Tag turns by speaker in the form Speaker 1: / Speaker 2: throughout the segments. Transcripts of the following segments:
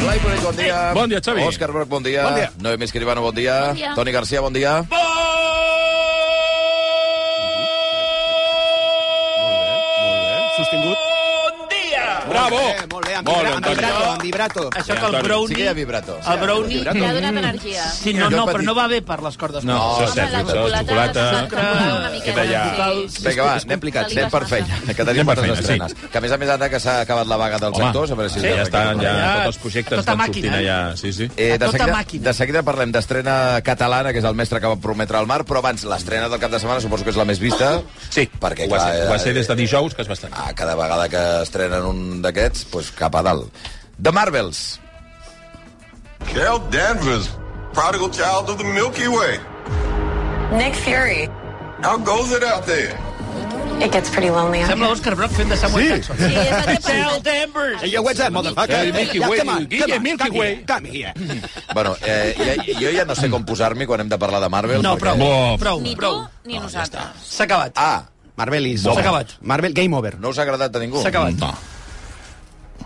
Speaker 1: Blai Bonic, bon dia.
Speaker 2: Eh, Bon dia, Xavi.
Speaker 1: Òscar Broc, bon dia.
Speaker 2: Bon dia.
Speaker 1: Noemi Escribano, bon dia.
Speaker 3: Bon dia.
Speaker 1: Toni Garcia, bon dia.
Speaker 2: Sostingut. Bravo!
Speaker 4: Molt bé, molt bé. Amb,
Speaker 2: Molt
Speaker 4: vibra,
Speaker 2: bé,
Speaker 4: amb
Speaker 2: Antoni.
Speaker 4: vibrato, amb vibrato.
Speaker 5: Això que
Speaker 2: Antoni.
Speaker 5: el
Speaker 1: Sí que
Speaker 5: brownie...
Speaker 1: hi ha vibrato.
Speaker 5: El brownie...
Speaker 3: Li ha donat energia.
Speaker 5: Sí, no,
Speaker 1: Jo
Speaker 5: no,
Speaker 1: petit.
Speaker 5: però no va bé per les cordes.
Speaker 2: No,
Speaker 1: No,
Speaker 2: això és
Speaker 3: Home, la
Speaker 2: cert, això és xocolata.
Speaker 3: xocolata, una miqueta,
Speaker 2: Queda ja.
Speaker 3: sí.
Speaker 1: Vinga, va, anem plicats, anem per feina, que tenim
Speaker 2: Anem per
Speaker 1: moltes
Speaker 2: feina, sí.
Speaker 1: estrenes. Que a més a més ara que s'ha acabat la vaga dels
Speaker 2: Home,
Speaker 1: actors, a veure si...
Speaker 2: sí, ja estan, ja,
Speaker 5: Ja,
Speaker 2: tots els projectes
Speaker 5: tota
Speaker 2: estan
Speaker 5: màquina,
Speaker 2: sortint
Speaker 5: eh?
Speaker 2: allà. Sí,
Speaker 1: Eh,
Speaker 2: sí.
Speaker 5: A
Speaker 1: de,
Speaker 5: tota
Speaker 1: seguida,
Speaker 5: màquina.
Speaker 1: de seguida parlem d'estrena catalana, que és el mestre que va prometre al mar, però abans l'estrena del cap de setmana suposo que és la més vista.
Speaker 2: Sí,
Speaker 1: perquè
Speaker 2: ho va,
Speaker 1: clar,
Speaker 2: ser, ho va
Speaker 1: eh,
Speaker 2: ser des de dijous que es va estar.
Speaker 1: a cada vegada que estrenen un d'aquests, doncs cap a dalt. The Marvels.
Speaker 6: Carol Danvers, prodigal child of the Milky Way.
Speaker 7: Nick Fury.
Speaker 6: How goes it out there?
Speaker 7: It gets pretty lonely out
Speaker 5: Sembla
Speaker 7: here.
Speaker 5: Òscar Brock fent de Samuel Jackson.
Speaker 3: Sí, és el que
Speaker 5: Tell
Speaker 3: passa.
Speaker 5: Danvers!
Speaker 4: Hey, yo, what's up,
Speaker 5: Ah,
Speaker 3: eh,
Speaker 4: motherfucker?
Speaker 2: Hey, Milky
Speaker 4: Yeah,
Speaker 2: Way,
Speaker 4: come on,
Speaker 2: Guille,
Speaker 4: come on,
Speaker 2: Milky
Speaker 4: come
Speaker 2: Way.
Speaker 4: here, Come here.
Speaker 1: Bueno, eh, ja, jo ja no sé com posar-m'hi quan hem de parlar de Marvel.
Speaker 5: No, prou,
Speaker 2: Bo.
Speaker 5: prou,
Speaker 3: Ni tu
Speaker 5: prou.
Speaker 3: ni nosaltres.
Speaker 5: S'ha acabat.
Speaker 1: Ah,
Speaker 4: Marvel is
Speaker 5: S'ha
Speaker 4: over.
Speaker 5: acabat.
Speaker 4: Marvel, game over.
Speaker 1: no us ha agradat a ningú?
Speaker 5: S'ha acabat.
Speaker 2: No.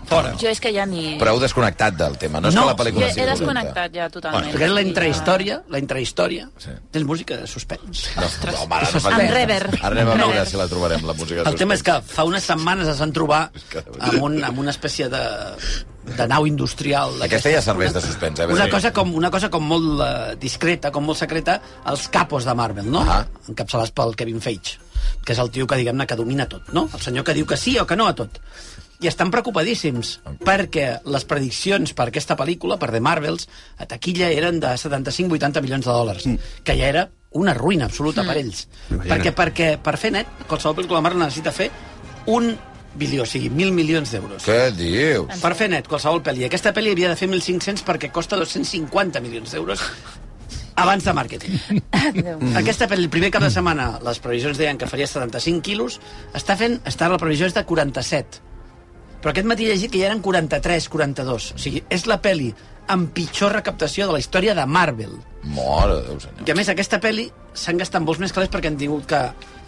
Speaker 5: Fora.
Speaker 3: Jo és que ja ni...
Speaker 1: Però heu desconnectat del tema, no és
Speaker 5: No,
Speaker 1: que la
Speaker 3: Jo
Speaker 1: pel·lícula
Speaker 3: he desconnectat ja totalment.
Speaker 5: Perquè és la intrahistòria, la intrahistòria.
Speaker 1: Sí.
Speaker 5: Tens música de suspens.
Speaker 1: No, home, ara, no
Speaker 5: Amb
Speaker 1: fa temps.
Speaker 3: reverb.
Speaker 1: Ara anem a veure
Speaker 3: Reverb.
Speaker 1: si la trobarem, la música.
Speaker 5: El tema és que fa unes setmanes es van trobar amb, un, amb una espècie de, de nau industrial. d'aquestes.
Speaker 1: Aquesta ja serveix de suspens, eh?
Speaker 5: Una
Speaker 1: Sí.
Speaker 5: cosa com, una cosa com molt eh, discreta, com molt secreta, els capos de Marvel, no?
Speaker 1: Ah.
Speaker 5: Encapçalats pel Kevin Feige, que és el tio que, diguem-ne, que domina tot, no? El senyor que diu que sí o que no a tot. I estan preocupadíssims, perquè les prediccions per aquesta pel·lícula, per The Marvels, a taquilla eren de 75-80 milions de dòlars, que ja era una ruïna absoluta per ells. Perquè, perquè per fer net, qualsevol pel·lícula de Marvel necessita fer un bilió, o sigui, mil milions d'euros.
Speaker 1: Què dius?
Speaker 5: Per fer net, qualsevol pel·li. Aquesta pel·li havia de fer 1.500 perquè costa 250 milions d'euros abans de màrqueting. Aquesta pel·li, el primer cap de setmana, les previsions deien que faria 75 quilos, està fent, està, la previsió és de 47. Però aquest matí he llegit que ja eren 43, 42. O sigui, és la pel·li amb pitjor recaptació de la història de Marvel.
Speaker 1: Mare de Déu, senyor.
Speaker 5: I a més, aquesta pel·li s'han gastat molts més calés perquè han tingut que,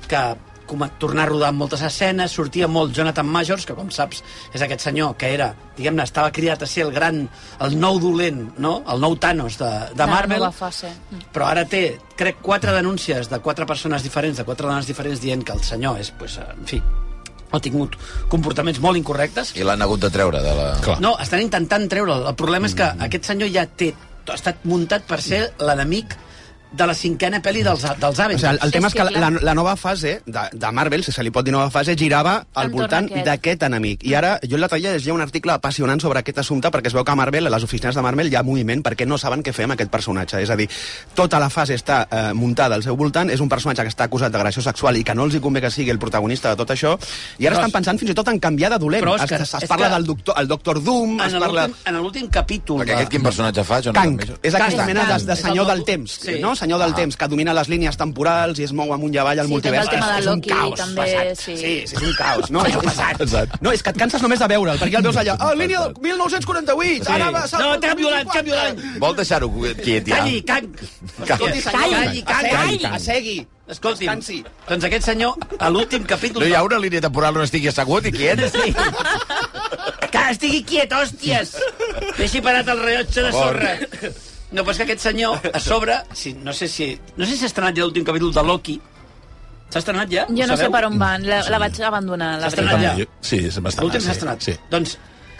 Speaker 5: que com a, tornar a rodar moltes escenes, sortia molt Jonathan Majors, que com saps és aquest senyor que era, diguem-ne, estava criat a ser el gran, el nou dolent, no? el nou Thanos de, de,
Speaker 3: la
Speaker 5: Marvel,
Speaker 3: nova fase. Mm.
Speaker 5: però ara té, crec, quatre denúncies de quatre persones diferents, de quatre dones diferents, dient que el senyor és, pues, en fi, ha tingut comportaments molt incorrectes.
Speaker 1: I l'han hagut de treure de la...
Speaker 2: Clar.
Speaker 5: No, estan intentant treure'l. El problema és que aquest senyor ja té, ha estat muntat per ser l'enemic de la cinquena pel·li dels, dels
Speaker 4: O
Speaker 5: Avengers.
Speaker 4: sigui, el, el tema
Speaker 3: És
Speaker 4: és
Speaker 3: que
Speaker 4: que la,
Speaker 3: clar.
Speaker 4: la nova fase de, de Marvel, si se li pot dir nova fase, girava al
Speaker 3: Entorn
Speaker 4: voltant
Speaker 3: aquest.
Speaker 4: d'aquest enemic. I ara, jo en la talla llegia un article apassionant sobre aquest assumpte, perquè es veu que a Marvel, a les oficines de Marvel, hi ha moviment perquè no saben què fer amb aquest personatge. És a dir, tota la fase està eh, muntada al seu voltant, és un personatge que està acusat d'agressió sexual i que no els hi convé que sigui el protagonista de tot això, i
Speaker 5: Però
Speaker 4: ara
Speaker 5: és-
Speaker 4: estan pensant fins i tot en canviar de dolent.
Speaker 5: Però,
Speaker 4: es,
Speaker 5: Òscar,
Speaker 4: es,
Speaker 5: és
Speaker 4: es parla
Speaker 5: que-
Speaker 4: del doctor, el doctor
Speaker 5: En
Speaker 4: Doom, es parla...
Speaker 5: l'últim- En l'últim capítol...
Speaker 1: Perquè
Speaker 5: de-
Speaker 1: aquest quin personatje fa? Jonathan
Speaker 4: Kang.
Speaker 1: Major?
Speaker 4: És aquesta
Speaker 5: Kang,
Speaker 4: mena de,
Speaker 5: Kang.
Speaker 4: de senyor
Speaker 5: És el
Speaker 4: del temps,
Speaker 5: sí.
Speaker 4: no? Senyor del
Speaker 1: Ah.
Speaker 4: temps, que domina les línies temporals i es mou amunt i avall al
Speaker 3: Sí,
Speaker 4: multivers.
Speaker 3: tot el tema
Speaker 4: És-
Speaker 3: de
Speaker 4: és un
Speaker 3: Loki
Speaker 4: caos
Speaker 3: també,
Speaker 4: pesat.
Speaker 3: sí.
Speaker 4: sí. és un caos, no? És pesat.
Speaker 2: Pesat.
Speaker 4: No, és que et canses només de veure'l, perquè el veus allà, ah, línia del 1948, ara va...
Speaker 5: No, t'ha violat, t'ha violat.
Speaker 1: Vol deixar-ho quiet ja?
Speaker 5: Calli, canc.
Speaker 1: Calli,
Speaker 5: calli, calli.
Speaker 4: Assegui.
Speaker 5: Escolti'm,
Speaker 4: Descansi.
Speaker 5: doncs aquest senyor, a l'últim capítol...
Speaker 1: No hi ha una línia temporal on estigui assegut i quiet?
Speaker 5: Sí. Que estigui quiet, hòsties! Deixi parat el rellotge de
Speaker 1: Por
Speaker 5: sorra. No, però és que aquest senyor, a sobre, si, no sé si... No sé si s'ha estrenat ja l'últim capítol de Loki. S'ha estrenat ja?
Speaker 3: Jo
Speaker 5: Ho
Speaker 3: no sé
Speaker 5: sabeu?
Speaker 3: per on van, la, la vaig abandonar, la
Speaker 5: S'ha
Speaker 3: veritat.
Speaker 5: estrenat ja.
Speaker 2: Eh, Sí, és bastant.
Speaker 5: L'últim
Speaker 4: Ah,
Speaker 5: s'ha
Speaker 2: sí,
Speaker 5: estrenat.
Speaker 2: Sí.
Speaker 5: Doncs,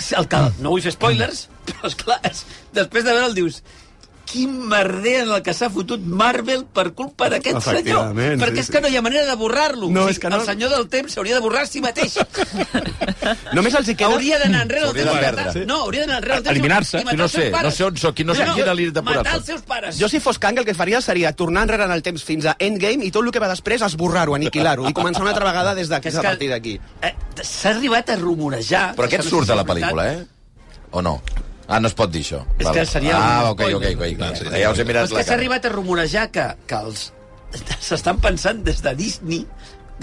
Speaker 5: si el que, no vull fer spoilers, però esclar, és, després de veure'l dius quin merder en el que s'ha fotut Marvel per culpa d'aquest senyor.
Speaker 4: Efectivament,
Speaker 5: Perquè
Speaker 4: sí,
Speaker 5: és que
Speaker 4: sí.
Speaker 5: no hi ha manera de borrar-lo.
Speaker 4: No,
Speaker 5: O sigui,
Speaker 4: és que no.
Speaker 5: El senyor del temps s'hauria de borrar a si mateix.
Speaker 4: Només els hi queda...
Speaker 5: hauria d'anar enrere el
Speaker 1: S'hauria de
Speaker 5: temps. i matar-
Speaker 1: perdre.
Speaker 5: No, hauria d'anar enrere el temps. i-
Speaker 2: Eliminar-se.
Speaker 5: i matar
Speaker 1: No
Speaker 5: els seus
Speaker 1: sé,
Speaker 5: pares.
Speaker 1: no sé on sóc i no sé quina línia temporal
Speaker 5: Matar
Speaker 1: sóc.
Speaker 5: els seus pares.
Speaker 4: Jo, si fos Kang, el que faria seria tornar enrere en el temps fins a Endgame i tot el que va després esborrar-ho, aniquilar-ho i començar una altra vegada des de,
Speaker 5: Que és
Speaker 4: a
Speaker 5: que-
Speaker 4: partir d'aquí.
Speaker 5: Eh, S'ha arribat a rumorejar...
Speaker 1: Però aquest
Speaker 5: que no sé
Speaker 1: surt
Speaker 5: si
Speaker 1: de la
Speaker 5: és veritat.
Speaker 1: pel·lícula, eh? O no? Ah, no es pot dir això.
Speaker 5: És
Speaker 1: Val.
Speaker 5: que seria
Speaker 1: Ah,
Speaker 5: un
Speaker 1: ok, ok,
Speaker 5: spoiler.
Speaker 1: ok. Doncs
Speaker 2: Clar, sí.
Speaker 1: Ja us he
Speaker 5: Però
Speaker 1: mirat
Speaker 5: és
Speaker 1: la
Speaker 5: que s'ha
Speaker 1: cara.
Speaker 5: arribat a rumorejar que, que els s'estan pensant des de Disney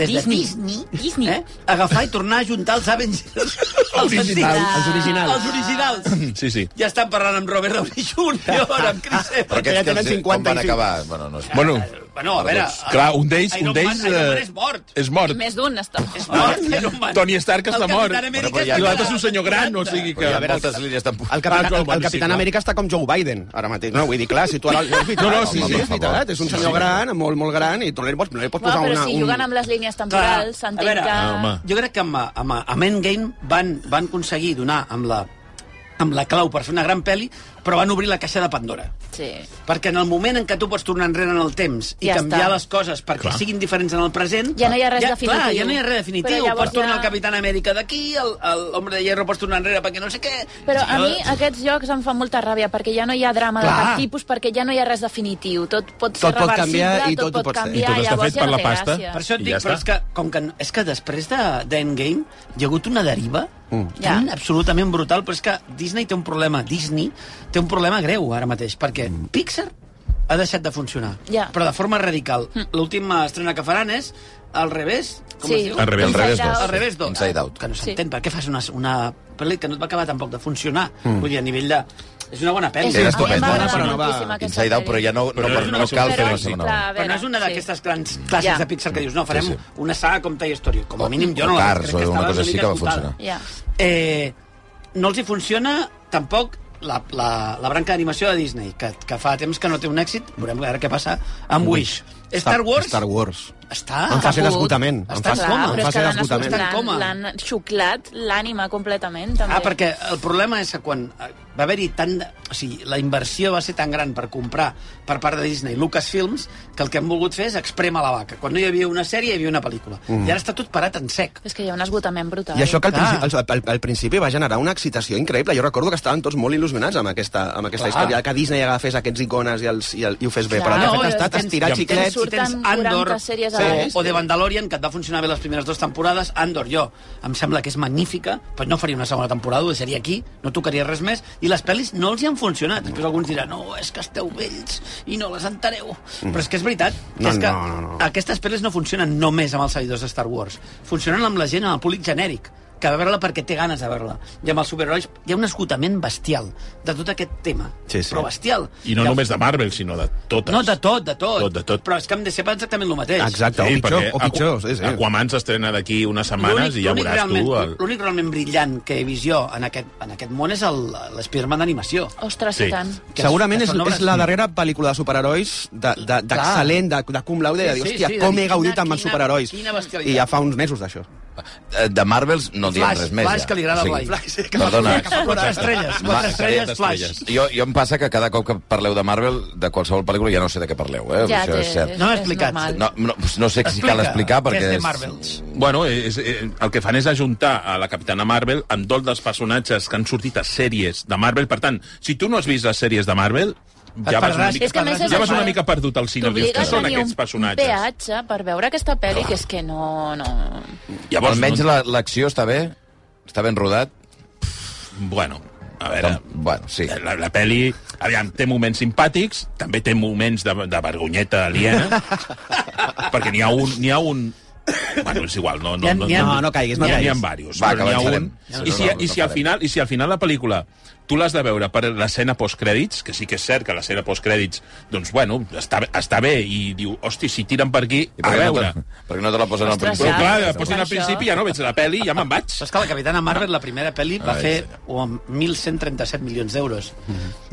Speaker 5: des
Speaker 3: Disney.
Speaker 5: de Disney,
Speaker 3: Disney.
Speaker 5: Eh? agafar i tornar a juntar els Avengers els
Speaker 4: Originals.
Speaker 5: antics.
Speaker 4: Els
Speaker 3: Ah.
Speaker 4: originals.
Speaker 5: els originals
Speaker 2: Sí, sí.
Speaker 5: ja estan parlant amb Robert Downey Jr amb Chris
Speaker 1: Però
Speaker 5: Evans
Speaker 1: aquests que
Speaker 4: Ja tenen
Speaker 1: els, com van
Speaker 4: 55.
Speaker 1: acabar? Bueno, no és...
Speaker 2: Bueno, doncs,
Speaker 5: Bueno, a veure...
Speaker 2: Clar, un d'ells...
Speaker 5: Iron
Speaker 2: un d'ells,
Speaker 5: Man- Iron Man
Speaker 2: eh, Ah,
Speaker 5: és mort.
Speaker 2: És mort.
Speaker 3: Més d'un està.
Speaker 5: És mort, Iron Man.
Speaker 2: Tony Stark està
Speaker 5: El
Speaker 2: mort.
Speaker 5: Capitán América
Speaker 1: Bueno, però ja-
Speaker 2: I
Speaker 5: està
Speaker 2: l'altre és un
Speaker 5: mort.
Speaker 2: senyor gran, o sigui que...
Speaker 1: Però hi ha moltes línies temporals.
Speaker 4: El Capitán,
Speaker 2: Ah, clar,
Speaker 4: el,
Speaker 2: bueno,
Speaker 4: el
Speaker 2: sí,
Speaker 4: Capitán
Speaker 2: clar.
Speaker 4: Amèrica està com Joe Biden, ara mateix. No, vull dir, clar, si tu ara... És veritat,
Speaker 2: No, no,
Speaker 4: home,
Speaker 2: sí, sí,
Speaker 4: és veritat. És un senyor gran, molt, molt gran, i tu no li pots, no li pots
Speaker 3: Bueno,
Speaker 4: posar
Speaker 3: però
Speaker 4: una...
Speaker 3: si juguen amb les línies temporals,
Speaker 5: Clar,
Speaker 3: s'entén
Speaker 5: a veure,
Speaker 3: que...
Speaker 2: ah, home.
Speaker 5: Jo crec que amb, amb, amb Endgame van, van aconseguir donar amb la, amb la clau per fer una gran pel·li, però van obrir la caixa de Pandora.
Speaker 3: Sí.
Speaker 5: Perquè en el moment en què tu pots tornar enrere en el temps i
Speaker 3: Ja
Speaker 5: ja canviar
Speaker 3: està.
Speaker 5: està. les coses perquè clar. siguin diferents en el present...
Speaker 3: Ja no hi ha res
Speaker 5: ja,
Speaker 3: definitiu.
Speaker 5: Clar, ja no hi ha res definitiu.
Speaker 3: Però llavors
Speaker 5: Pots tornar
Speaker 3: ja-
Speaker 5: al Capitán Amèrica d'aquí, el, el Hombre de Hierro pots tornar enrere perquè no sé què...
Speaker 3: Però a
Speaker 5: Jo-
Speaker 3: mi aquests jocs em fan molta ràbia, perquè ja no hi ha drama de
Speaker 5: Clar.
Speaker 3: cap tipus, perquè ja no hi ha res definitiu. Tot pot ser
Speaker 4: Tot pot
Speaker 3: reversible,
Speaker 4: canviar i tot
Speaker 3: tot
Speaker 4: ho
Speaker 3: pot
Speaker 4: pots fer.
Speaker 2: I
Speaker 3: canviar,
Speaker 2: tot està
Speaker 3: llavors
Speaker 2: fet
Speaker 3: ja
Speaker 2: per
Speaker 3: no
Speaker 2: la
Speaker 3: té
Speaker 2: pasta.
Speaker 3: gràcia.
Speaker 5: Per això
Speaker 2: I
Speaker 5: et dic,
Speaker 2: ja
Speaker 5: ja però
Speaker 2: està.
Speaker 5: és que, com que, és que després de- d'Endgame de, hi ha hagut una deriva mm. tan
Speaker 3: Ja.
Speaker 5: absolutament brutal, però és que Disney té un problema, Disney té un problema greu ara mateix, perquè
Speaker 2: Mm.
Speaker 5: Pixar ha deixat de funcionar,
Speaker 3: Ja. Mm.
Speaker 5: però de forma radical. L'última estrena que faran és al revés, com
Speaker 3: Sí.
Speaker 5: es diu?
Speaker 2: Al revés, al
Speaker 3: Inside
Speaker 2: revés,
Speaker 3: Out.
Speaker 5: Al revés, doncs.
Speaker 1: Inside Out.
Speaker 5: Que no
Speaker 3: Sí.
Speaker 5: s'entén, per què fas una, una pel·li que no et va acabar tampoc de funcionar? Mm. Vull dir, a nivell de... És una bona pel·li.
Speaker 1: Era
Speaker 3: a mi
Speaker 1: estupenda,
Speaker 3: m'agrada
Speaker 4: però no va-
Speaker 3: moltíssim aquesta
Speaker 1: Inside Out, però
Speaker 3: sèrie.
Speaker 1: ja no, no,
Speaker 2: Però
Speaker 1: per,
Speaker 2: és
Speaker 1: no,
Speaker 2: una
Speaker 1: cal
Speaker 2: cosa
Speaker 1: fer
Speaker 2: però
Speaker 1: una
Speaker 2: sí,
Speaker 1: segona.
Speaker 3: clar,
Speaker 1: part.
Speaker 3: a
Speaker 5: Però
Speaker 3: veure,
Speaker 5: no és una
Speaker 3: sí.
Speaker 5: d'aquestes grans classes
Speaker 3: Ja.
Speaker 5: de Pixar que dius, no, farem
Speaker 1: Sí,
Speaker 5: sí,
Speaker 1: sí.
Speaker 5: sí. una saga com Toy Story. Com a mínim jo
Speaker 1: o
Speaker 5: no la
Speaker 1: Cars,
Speaker 5: crec
Speaker 1: o
Speaker 5: que
Speaker 1: una
Speaker 5: estava
Speaker 1: cosa
Speaker 5: una
Speaker 1: així
Speaker 5: mica
Speaker 1: que va
Speaker 5: esgotada.
Speaker 1: funcionar.
Speaker 3: Ja.
Speaker 5: Eh, no els hi funciona tampoc la, la, la branca d'animació de Disney, que, que fa temps que no té un èxit. Veurem ara què passa amb Wish. Star Wars
Speaker 4: Star Wars.
Speaker 5: està...
Speaker 4: En fase
Speaker 3: Caput.
Speaker 4: d'esgotament. En
Speaker 5: Està
Speaker 4: fase,
Speaker 5: clar,
Speaker 4: en
Speaker 5: però
Speaker 4: fase d'esgotament.
Speaker 5: esgotat. Està en
Speaker 3: escoltant,
Speaker 5: coma.
Speaker 3: l'han xuclat l'ànima completament, també.
Speaker 5: Ah, perquè el problema és que quan eh, va haver-hi tant... de- O sigui, la inversió va ser tan gran per comprar per part de Disney Lucasfilms que el que han volgut fer és esprémer la vaca. Quan no hi havia una sèrie, hi havia una pel·lícula. Mm. I ara està tot parat en sec.
Speaker 3: És que hi ha un esgotament brutal.
Speaker 4: I això que al,
Speaker 5: Clar.
Speaker 4: principi, al, al, al principi va generar una excitació increïble. Jo recordo que estaven tots molt il·lusionats amb aquesta, amb aquesta
Speaker 5: Clar.
Speaker 4: història, que Disney agafés aquests icones i, els, i, el, i ho fes bé.
Speaker 3: Clar.
Speaker 4: Però el que ha
Speaker 5: No,
Speaker 4: fet ha estat
Speaker 5: tens-
Speaker 4: estirar
Speaker 2: tens-
Speaker 4: xiclets...
Speaker 5: Si tens
Speaker 3: surten
Speaker 5: Andor
Speaker 3: 40 sèries a
Speaker 5: sí,
Speaker 3: l'any.
Speaker 5: o The Mandalorian, que et va funcionar bé les primeres dues temporades, Andor jo em sembla que és magnífica, però no faria una segona temporada, ho deixaria aquí, no tocaria res més, i les pel·lis no els hi han funcionat. Després alguns diran, no, és que esteu vells i no les enteneu. Però és que és veritat, que
Speaker 4: Mm. No,
Speaker 5: és que
Speaker 4: no, no, no.
Speaker 5: aquestes pel·lis no funcionen només amb els seguidors de Star Wars, funcionen amb la gent, amb el públic genèric que va veure-la perquè té ganes de veure-la. I amb els superherois hi ha un esgotament bestial de tot aquest tema.
Speaker 4: Sí, sí.
Speaker 5: Però bestial.
Speaker 2: I no
Speaker 5: Llavors-
Speaker 2: només de Marvel, sinó de totes.
Speaker 5: no, de tot, de tot.
Speaker 2: Tot, de tot.
Speaker 5: Però és que hem de ser exactament el mateix.
Speaker 4: Exacte, o pitjor,
Speaker 2: perquè
Speaker 4: o pitjor, sí, sí.
Speaker 2: Aquaman s'estrena d'aquí unes setmanes
Speaker 5: L'únic
Speaker 2: i ja
Speaker 5: l'únic
Speaker 2: veuràs
Speaker 5: realment,
Speaker 2: tu... El...
Speaker 5: l'únic realment brillant que he vist jo en aquest, en aquest món és el- l'Spiderman d'animació.
Speaker 3: Ostres,
Speaker 2: Sí.
Speaker 3: i tant.
Speaker 5: Que
Speaker 4: Segurament
Speaker 5: que
Speaker 4: és,
Speaker 5: són obres-
Speaker 4: és la darrera pel·lícula de superherois de- de- d'excel·lent, de, de, de cum laude, de dir,
Speaker 5: Sí, sí,
Speaker 4: hòstia,
Speaker 5: sí, de
Speaker 4: com he
Speaker 5: quina-
Speaker 4: gaudit amb els
Speaker 5: quina-
Speaker 4: superherois.
Speaker 5: quina bestialitat.
Speaker 4: I ja fa uns mesos d'això.
Speaker 1: Eh, De Marvels no en diem
Speaker 5: Flash,
Speaker 1: res més.
Speaker 5: Flash,
Speaker 1: ja.
Speaker 5: que li agrada
Speaker 1: O
Speaker 5: al
Speaker 1: sigui,
Speaker 5: Blai. Sí, que fa-
Speaker 1: Perdona,
Speaker 5: que fa quatre estrelles,
Speaker 1: Ma-
Speaker 5: quatre estrelles,
Speaker 2: quatre
Speaker 5: Flash.
Speaker 2: estrelles.
Speaker 1: Jo, jo em passa que cada cop que parleu de Marvel, de qualsevol pel·lícula, ja no sé de què parleu, eh?
Speaker 3: Ja
Speaker 1: Això és
Speaker 3: té-
Speaker 1: cert.
Speaker 5: No m'ha
Speaker 3: és
Speaker 5: explicat.
Speaker 3: normal.
Speaker 1: No, no, no sé si cal explicar, perquè...
Speaker 5: Què és de
Speaker 1: és-
Speaker 5: Marvels?
Speaker 2: Bueno, és, eh, el que fan és ajuntar a la Capitana Marvel amb tot dels personatges que han sortit a sèries de Marvel. Per tant, si tu no has vist les sèries de Marvel, ja vas una
Speaker 5: perdràs.
Speaker 2: mica...
Speaker 3: És que a més és
Speaker 2: Ja vas
Speaker 3: això.
Speaker 2: una mica perdut al cine, dius,
Speaker 3: T'obligues
Speaker 2: que són
Speaker 3: a tenir
Speaker 2: aquests
Speaker 3: un
Speaker 2: personatges.
Speaker 3: peatge per veure aquesta pel·li, que és que no... no...
Speaker 2: Llavors, doncs-
Speaker 1: Almenys
Speaker 2: no-
Speaker 1: la- l'acció està bé? Està ben rodat?
Speaker 2: Bueno, a veure...
Speaker 1: Bueno, sí.
Speaker 2: La, la peli, aviam, té moments simpàtics, també té moments de, de vergonyeta aliena, perquè n'hi ha un... N'hi ha un Bueno, és igual, no...
Speaker 5: N'hi ha-
Speaker 2: No,
Speaker 5: n'hi ha-
Speaker 2: no,
Speaker 4: no, no caiguis, no
Speaker 2: N'hi ha, n'hi ha
Speaker 4: caiguis.
Speaker 2: diversos,
Speaker 1: Va,
Speaker 2: però
Speaker 1: que
Speaker 2: n'hi ha
Speaker 1: avançarem.
Speaker 2: un. I si, i, si al final, I si al final la pel·lícula tu l'has de veure per l'escena postcrèdits, que sí que és cert que l'escena postcrèdits, doncs, bueno, està, està bé, i diu, hosti, si tiren per aquí,
Speaker 1: I
Speaker 2: a
Speaker 1: per què no
Speaker 2: veure.
Speaker 1: te, perquè no te la posen al
Speaker 3: Ostres,
Speaker 1: principi.
Speaker 2: Però clar,
Speaker 3: Ja,
Speaker 2: la posen al
Speaker 3: això.
Speaker 2: principi, ja no veig la pel·li, ja me'n vaig.
Speaker 5: Però és que la Capitana Marvel, la primera pel·li, va
Speaker 2: Ai,
Speaker 5: fer
Speaker 2: senyor.
Speaker 5: oh, 1.137 milions d'euros.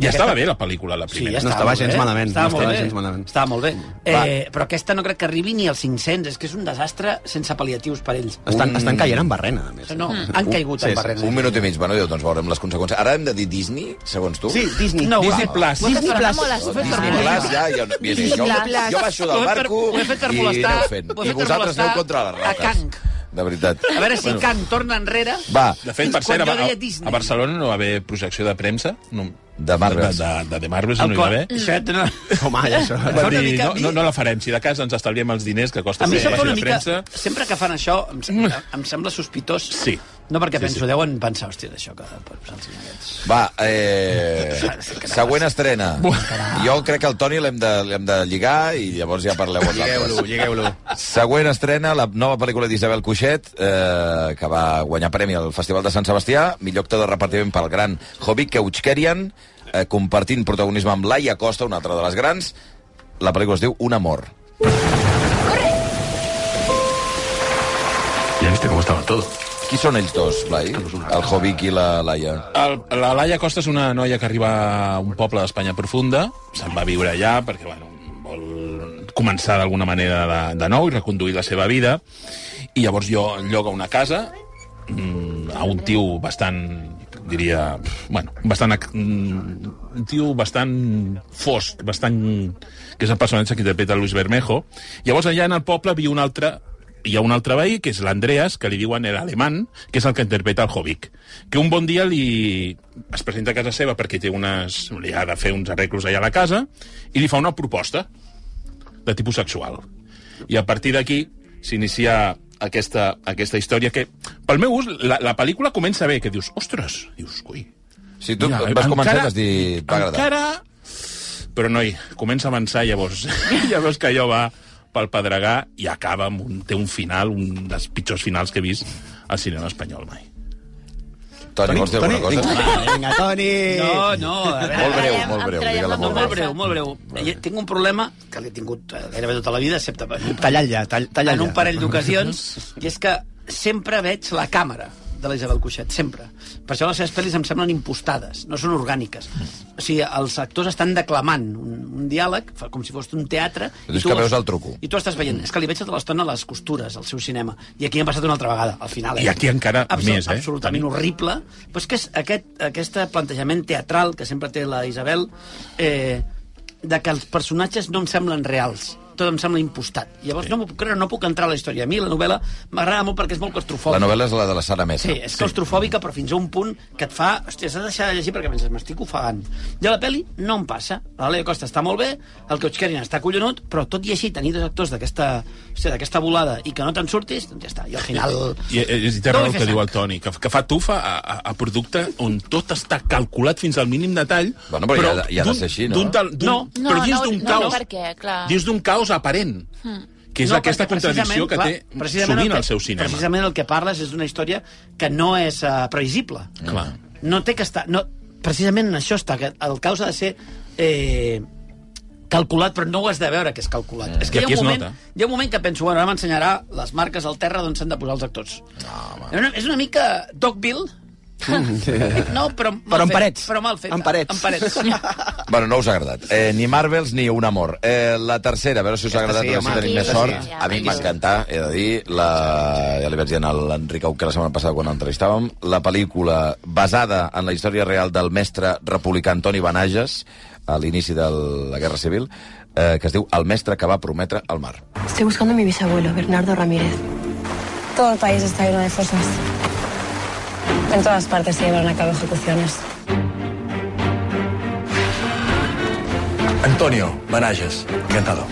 Speaker 2: Ja estava bé la pel·lícula, la primera.
Speaker 4: No estava
Speaker 5: molt
Speaker 4: gens
Speaker 5: bé.
Speaker 4: malament,
Speaker 5: Estava,
Speaker 4: no
Speaker 5: molt
Speaker 4: estava
Speaker 5: bé.
Speaker 4: gens malament.
Speaker 5: Estava molt bé. Eh, però aquesta no crec que arribi ni als 500, és que és un desastre sense pal·liatius per ells.
Speaker 4: Estan, estan caient en barrena, a més. Mm.
Speaker 5: No, han caigut
Speaker 4: Sí,
Speaker 5: en
Speaker 4: sí,
Speaker 5: barrera.
Speaker 1: Un minut i mig, bueno, doncs veurem les conseqüències. Ara hem de dir Disney, segons tu?
Speaker 4: Sí, Disney.
Speaker 5: No,
Speaker 4: Disney
Speaker 5: va.
Speaker 4: Plus.
Speaker 3: Ho he fet
Speaker 4: Disney
Speaker 3: per anar molt a
Speaker 4: Plus.
Speaker 3: sobre.
Speaker 1: Disney
Speaker 5: Ah.
Speaker 1: Plus, ja, jo, mira, jo,
Speaker 3: Plus.
Speaker 1: jo baixo
Speaker 5: Ho
Speaker 1: del
Speaker 5: he fet-
Speaker 1: barco
Speaker 5: ho he fet per
Speaker 1: i
Speaker 5: molestar-
Speaker 1: aneu fent.
Speaker 5: ho he
Speaker 1: I
Speaker 5: fet per
Speaker 1: vosalres
Speaker 5: molestar
Speaker 1: aneu contra les
Speaker 5: a
Speaker 1: roques.
Speaker 5: Kang.
Speaker 1: De veritat.
Speaker 5: A veure si Kang torna enrere...
Speaker 1: Va,
Speaker 2: De fet,
Speaker 5: Fins
Speaker 2: per cert,
Speaker 5: quan
Speaker 2: a,
Speaker 5: jo
Speaker 2: a,
Speaker 5: deia Disney.
Speaker 2: a Barcelona no va haver projecció de premsa. No,
Speaker 1: De Marvels.
Speaker 2: De, de, de, de Marvels
Speaker 5: El
Speaker 2: no
Speaker 5: Mm.
Speaker 2: hi va
Speaker 5: cor-
Speaker 2: haver.
Speaker 5: Això et dona-
Speaker 4: Home, ja això...
Speaker 5: fa
Speaker 2: Va
Speaker 5: una
Speaker 2: dir,
Speaker 5: mica-
Speaker 2: no,
Speaker 5: a mi-
Speaker 2: no, no la farem. Si de cas ens estalviem els diners que costa
Speaker 5: A mi
Speaker 2: fer
Speaker 5: això fa
Speaker 2: projecció de
Speaker 5: una mica...
Speaker 2: premsa.
Speaker 5: Sempre que fan això, em, sem- em sembla sospitós.
Speaker 2: Mm. Sí.
Speaker 5: No perquè
Speaker 2: Sí,
Speaker 5: penso,
Speaker 2: sí.
Speaker 5: deuen pensar, hòstia, d'això que... per posar-los en aquests.
Speaker 1: Va, eh... següent estrena. Jo crec que el Toni l'hem de, l'hem de lligar i llavors ja parleu vosaltres.
Speaker 4: Lligueu-lo.
Speaker 1: Següent estrena, la nova pel·lícula d'Isabel Cuixet, eh, que va guanyar premi al Festival de Sant Sebastià, millor actor de repartiment pel gran Jovic Keuchkerian, eh, compartint protagonisme amb Laia Costa, una altra de les grans. La pel·lícula es diu Un amor.
Speaker 8: Ya viste cómo estaba todo.
Speaker 1: Qui són ells dos, Blai? El Jovic i la Laia.
Speaker 2: El, la Laia Costa és una noia que arriba a un poble d'Espanya profunda, se'n va a viure allà perquè, bueno, vol començar d'alguna manera de, de nou i reconduir la seva vida, i llavors jo lloga una casa mm, a un tio bastant diria, bueno, bastant ac- mm, un tio bastant fosc, bastant que és el personatge que interpreta Luis Bermejo llavors allà en el poble viu un altre hi ha un altre veí, que és l'Andreas, que li diuen l'alemán, que és el que interpreta el Jovic, que un bon dia li es presenta a casa seva perquè té unes... li ha de fer uns arreglos allà a la casa i li fa una proposta de tipus sexual. I a partir d'aquí s'inicia aquesta, aquesta història que, pel meu gust, la, la pel·lícula comença bé, que dius, ostres, dius, ui...
Speaker 1: Si tu vas començar, t'has dit... "Va agradar".
Speaker 2: Encara... Però, noi, comença a avançar, llavors, llavors que allò va pel pedregar i acaba amb un, té un final, un dels pitjors finals que he vist al cinema espanyol mai.
Speaker 1: Toni, vols dir alguna
Speaker 4: Toni,
Speaker 1: cosa?
Speaker 4: Vinga, Toni!
Speaker 5: No, no, a veure...
Speaker 1: Molt breu,
Speaker 3: Em
Speaker 1: molt breu.
Speaker 3: traiem
Speaker 1: Digue-la
Speaker 3: la
Speaker 1: molt
Speaker 5: No, molt
Speaker 3: conversa.
Speaker 1: breu.
Speaker 5: breu, molt breu. Jo tinc un problema que l'he tingut eh, gairebé tota la vida, excepte per-
Speaker 4: Tallalla, tall, tallalla.
Speaker 5: en un parell d'ocasions, i és que sempre veig la càmera de l'Isabel Cuixet, sempre. Per això les seves pel·lis em semblen impostades, no són orgàniques. O sigui, els actors estan declamant un, un diàleg, fa com si fos un teatre... i
Speaker 1: És
Speaker 5: tu
Speaker 1: que
Speaker 5: els-
Speaker 1: veus el truco.
Speaker 5: I tu estàs veient, és que li veig tota l'estona les costures, al seu cinema. I aquí m'ha passat una altra vegada, al final.
Speaker 2: I aquí encara més, eh?
Speaker 5: Absolutament
Speaker 2: Tenim-
Speaker 5: horrible. Però és que és aquest, aquest plantejament teatral que sempre té la Isabel, eh, de que els personatges no em semblen reals tot em sembla impostat. Llavors no m'ho puc creure, no puc entrar a la història. A mi la novel·la m'agrada molt perquè és molt claustrofòbica.
Speaker 1: La novel·la és la de la Sara Mesa.
Speaker 5: Sí, és claustrofòbica, però fins a un punt que et fa... Hòstia, s'ha de deixar de llegir perquè penses, m'estic ofegant. I a la pel·li no em passa. La Leo Costa està molt bé, el Couchkerin està collonut, però tot i així tenir dos actors d'aquesta hòstia, d'aquesta volada i que no te'n surtis, doncs ja està. I al final...
Speaker 2: I, i, i té
Speaker 5: No
Speaker 2: raó
Speaker 5: vull
Speaker 2: el
Speaker 5: fer
Speaker 2: que diu el
Speaker 5: sang.
Speaker 2: Toni, que, que fa tufa a, a, a producte on tot està calculat fins al mínim detall,
Speaker 1: Bueno, però ja ha de- ja ha de
Speaker 2: d'un-
Speaker 1: ser així, no?
Speaker 2: d'un tal- d'un-
Speaker 5: No.
Speaker 3: No,
Speaker 2: però dins
Speaker 3: no,
Speaker 2: d'un
Speaker 3: no,
Speaker 2: caos,
Speaker 3: no, perquè, clar.
Speaker 2: dins d'un caos aparent, que és
Speaker 5: Hmm. No,
Speaker 2: aquesta
Speaker 5: perquè
Speaker 2: contradicció
Speaker 5: precisament,
Speaker 2: que
Speaker 5: clar,
Speaker 2: té
Speaker 5: precisament
Speaker 2: sovint
Speaker 5: el que-
Speaker 2: el seu cinema.
Speaker 5: Precisament el que parles és d'una història que no és uh, previsible.
Speaker 2: Clar.
Speaker 5: No té que estar... No, precisament en això està, que el caos ha de ser... Eh, calculat, però no ho has de veure que és calculat. Mm. És
Speaker 2: I
Speaker 5: que hi ha,
Speaker 2: aquí
Speaker 5: un
Speaker 2: es
Speaker 5: moment,
Speaker 2: nota.
Speaker 5: hi ha un moment que penso, bueno, ara m'ensenyarà les marques al terra d'on s'han de posar els actors.
Speaker 2: Ah,
Speaker 5: No, és, una, és una mica Dogville, no, però mal
Speaker 4: Però amb
Speaker 5: fet,
Speaker 4: parets.
Speaker 5: Però mal fet.
Speaker 4: Amb parets.
Speaker 5: Amb parets.
Speaker 1: Bueno, no us ha agradat. Eh, ni Marvels ni Un Amor. Eh, la tercera, a veure si us ha agradat
Speaker 4: sí,
Speaker 1: o
Speaker 4: home.
Speaker 1: si tenim
Speaker 3: Aquí
Speaker 1: més
Speaker 3: sí,
Speaker 1: sort.
Speaker 3: ja,
Speaker 1: A mi
Speaker 3: aquí
Speaker 1: m'ha
Speaker 3: sí.
Speaker 1: encantat, he de dir, la... ja li vaig dir a l'Enric Auque la setmana passada quan l'entrevistàvem, la pel·lícula basada en la història real del mestre republicà Antoni Benages, a l'inici de la Guerra Civil, eh, que es diu El mestre que va prometre al mar.
Speaker 7: Estoy buscando a mi bisabuelo, Bernardo Ramírez.
Speaker 9: Todo el país está lleno de fosas. En todas partes se llevaron a cabo ejecuciones.
Speaker 8: Antonio Manages, encantado.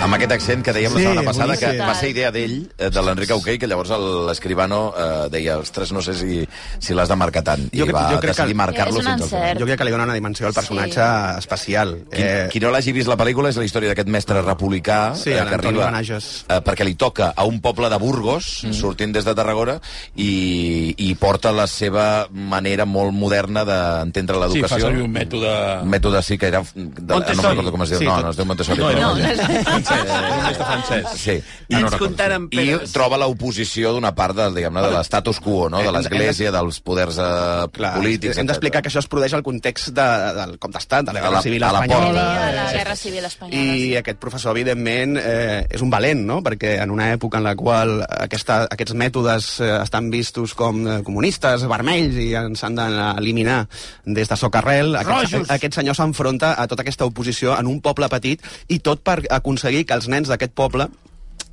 Speaker 1: Amb aquest accent que dèiem
Speaker 4: Sí,
Speaker 1: la setmana passada, que
Speaker 3: boníssim.
Speaker 1: va ser idea d'ell, eh, de l'Enric Auquei, que llavors el- l'escribano eh, deia, ostres, no sé si, si l'has de marcar tant. I
Speaker 4: Jo crec-
Speaker 1: va
Speaker 4: jo crec que-
Speaker 1: decidir marcar-lo
Speaker 3: És un
Speaker 1: fins al final.
Speaker 3: encert.
Speaker 4: Jo crec que li dona una dimensió al personatge sí. especial.
Speaker 1: Qui, eh... qui no l'hagi vist la pel·lícula és la història d'aquest mestre republicà
Speaker 4: Sí,
Speaker 1: eh, que
Speaker 4: l'Antoni
Speaker 1: arriba
Speaker 4: Benages.
Speaker 1: eh, perquè li toca a un poble de Burgos mm. sortint des de Tarragona i, i porta la seva manera molt moderna d'entendre
Speaker 2: Sí, fa
Speaker 1: l'educació.
Speaker 2: servir un mètode... eh,
Speaker 1: Un mètode sí que era... De, no
Speaker 5: Montessori.
Speaker 1: me'n recordo com es diu.
Speaker 4: Sí,
Speaker 1: no,
Speaker 4: tot-
Speaker 1: no es diu Montessori.
Speaker 2: No,
Speaker 1: però
Speaker 2: no,
Speaker 1: vaja.
Speaker 2: no, és francès, és un mestre francès.
Speaker 1: Sí.
Speaker 5: I
Speaker 2: no
Speaker 5: ens
Speaker 2: recordo.
Speaker 5: comptaren
Speaker 1: I
Speaker 5: peres.
Speaker 1: troba l'oposició d'una part de, diguem-ne, de l'estatus quo, no? de
Speaker 4: Hem- hem-
Speaker 1: l'església, dels poders eh,
Speaker 4: Clar,
Speaker 1: polítics,
Speaker 4: hem d'explicar que això es produeix al context de, del cop d'estat, de la
Speaker 1: A
Speaker 4: guerra
Speaker 1: la-
Speaker 4: civil
Speaker 1: a la
Speaker 4: espanyola.
Speaker 1: porta.
Speaker 3: De la
Speaker 4: eh,
Speaker 3: Guerra Civil Espanyola.
Speaker 4: I
Speaker 3: sí.
Speaker 4: aquest professor, evidentment, eh, és un valent, no? Perquè en una època en la qual aquesta, aquests mètodes eh, estan vistos com eh, comunistes, vermells, i ens han d'eliminar des de socarrel,
Speaker 5: Rojos.
Speaker 4: aquest, aquest senyor s'enfronta a tota aquesta oposició en un poble petit i tot per aconseguir que els nens d'aquest poble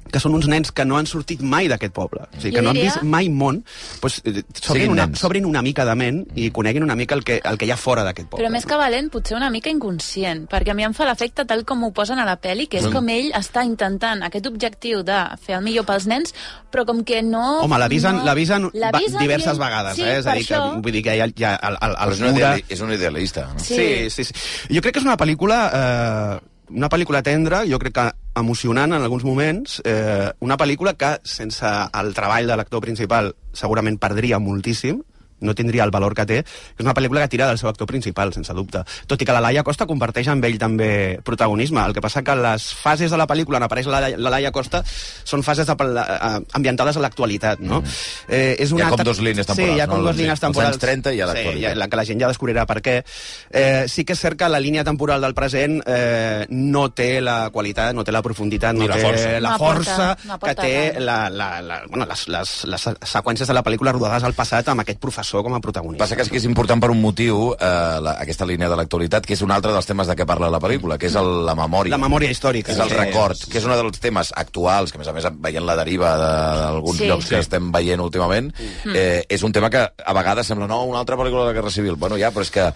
Speaker 4: que són uns nens que no han sortit mai d'aquest poble, o sigui, que
Speaker 3: Jo
Speaker 4: no han
Speaker 3: diria-
Speaker 4: vist mai món, doncs, eh,
Speaker 1: Siguin
Speaker 4: s'obrin una,
Speaker 1: nens.
Speaker 4: s'obrin una mica de ment i coneguin una mica el que, el que hi ha fora d'aquest poble.
Speaker 3: Mm. Però més que valent, potser una mica inconscient, perquè a mi em fa l'efecte tal com ho posen a la pel·li, que és com ell està intentant aquest objectiu de fer el millor pels nens, però com que no...
Speaker 4: Home, l'avisen
Speaker 3: no...
Speaker 4: l'avisen va-
Speaker 3: L'avisen
Speaker 4: diverses
Speaker 3: i-
Speaker 4: vegades,
Speaker 3: sí,
Speaker 4: eh? És a dir,
Speaker 3: per això...
Speaker 4: que, vull dir que ja, ja el, el,
Speaker 1: Però
Speaker 4: el
Speaker 1: és, una
Speaker 4: mura...
Speaker 1: ideali- és un idealista. No?
Speaker 3: Sí.
Speaker 4: Sí, sí, sí. Jo crec que és una pel·lícula... Eh, una pel·lícula tendra, jo crec que emocionant en alguns moments, eh, una pel·lícula que sense el treball de l'actor principal segurament perdria moltíssim, no tindria el valor que té. És una pel·lícula que tira del seu actor principal, sense dubte. Tot i que la Laia Costa comparteix amb ell també protagonisme. El que passa que les fases de la pel·lícula on apareix la, la Laia Costa són fases de, pel- eh, ambientades a l'actualitat, no? Eh, és
Speaker 1: Mm. Hi ha com
Speaker 4: altra-
Speaker 1: dos línies temporals,
Speaker 4: Sí, hi ha com
Speaker 1: no? Doncs
Speaker 4: dues línies
Speaker 1: Els anys
Speaker 4: temporals.
Speaker 1: 30 i a
Speaker 4: Sí,
Speaker 1: l'actualitat.
Speaker 4: hi ha la que la gent ja descobrirà per què. Eh, sí que és cert que la línia temporal del present eh, no té la qualitat, no té la profunditat, no
Speaker 2: Ni la
Speaker 4: té
Speaker 2: força.
Speaker 3: No
Speaker 4: la
Speaker 3: aporta-
Speaker 4: força
Speaker 3: no
Speaker 4: que
Speaker 3: aporta
Speaker 4: té
Speaker 3: tant.
Speaker 4: la, la, la, bueno, les, les, les seqüències de la pel·lícula rodades al passat amb aquest professor com a protagonista.
Speaker 1: Passa que és, que és important per un motiu, eh, la, aquesta línia de l'actualitat, que és un altre dels temes de què parla la pel·lícula, que és el, la memòria.
Speaker 4: La memòria històrica. Eh,
Speaker 1: És el
Speaker 4: Sí.
Speaker 1: record, que és un dels temes actuals, que a més a més veient la deriva de- d'alguns
Speaker 3: Sí.
Speaker 1: llocs que
Speaker 2: Sí.
Speaker 1: estem veient últimament, eh, és un tema que a vegades sembla, no, una altra pel·lícula de la Guerra Civil. Bueno, ja, però és que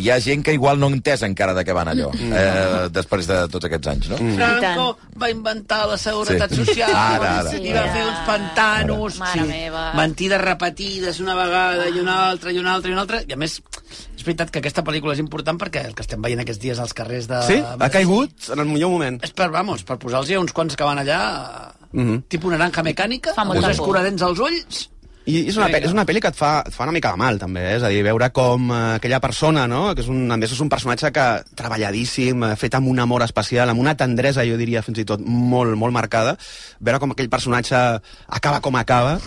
Speaker 1: hi ha gent que igual no ha entès encara de què van allò,
Speaker 4: Mm.
Speaker 1: eh, després de tots aquests anys, no?
Speaker 3: Mm.
Speaker 5: Franco va inventar la seguretat
Speaker 1: Sí.
Speaker 5: social
Speaker 1: Ara, ara.
Speaker 5: i va fer uns pantanos
Speaker 3: Ara. Mare meva.
Speaker 5: mentides repetides una vegada i una altra i una altra i una altra i a més és veritat que aquesta pel·lícula és important perquè el que estem veient aquests dies als carrers de...
Speaker 4: Sí? Ha caigut en el millor moment.
Speaker 5: És per, vamos, per posar-los a uns quants que van allà mm
Speaker 4: Mhm.
Speaker 5: -hmm. tipus naranja mecànica,
Speaker 3: Fa
Speaker 5: amb uns
Speaker 3: molta por.
Speaker 5: escuradents als ulls
Speaker 4: I és una, pe- és una pel·li que et fa, et fa una mica de mal, també, eh? és a dir, veure com eh, aquella persona, no? que és un, a més és un personatge que treballadíssim, eh, fet amb un amor especial, amb una tendresa, jo diria, fins i tot molt, molt marcada, veure com aquell personatge acaba com acaba,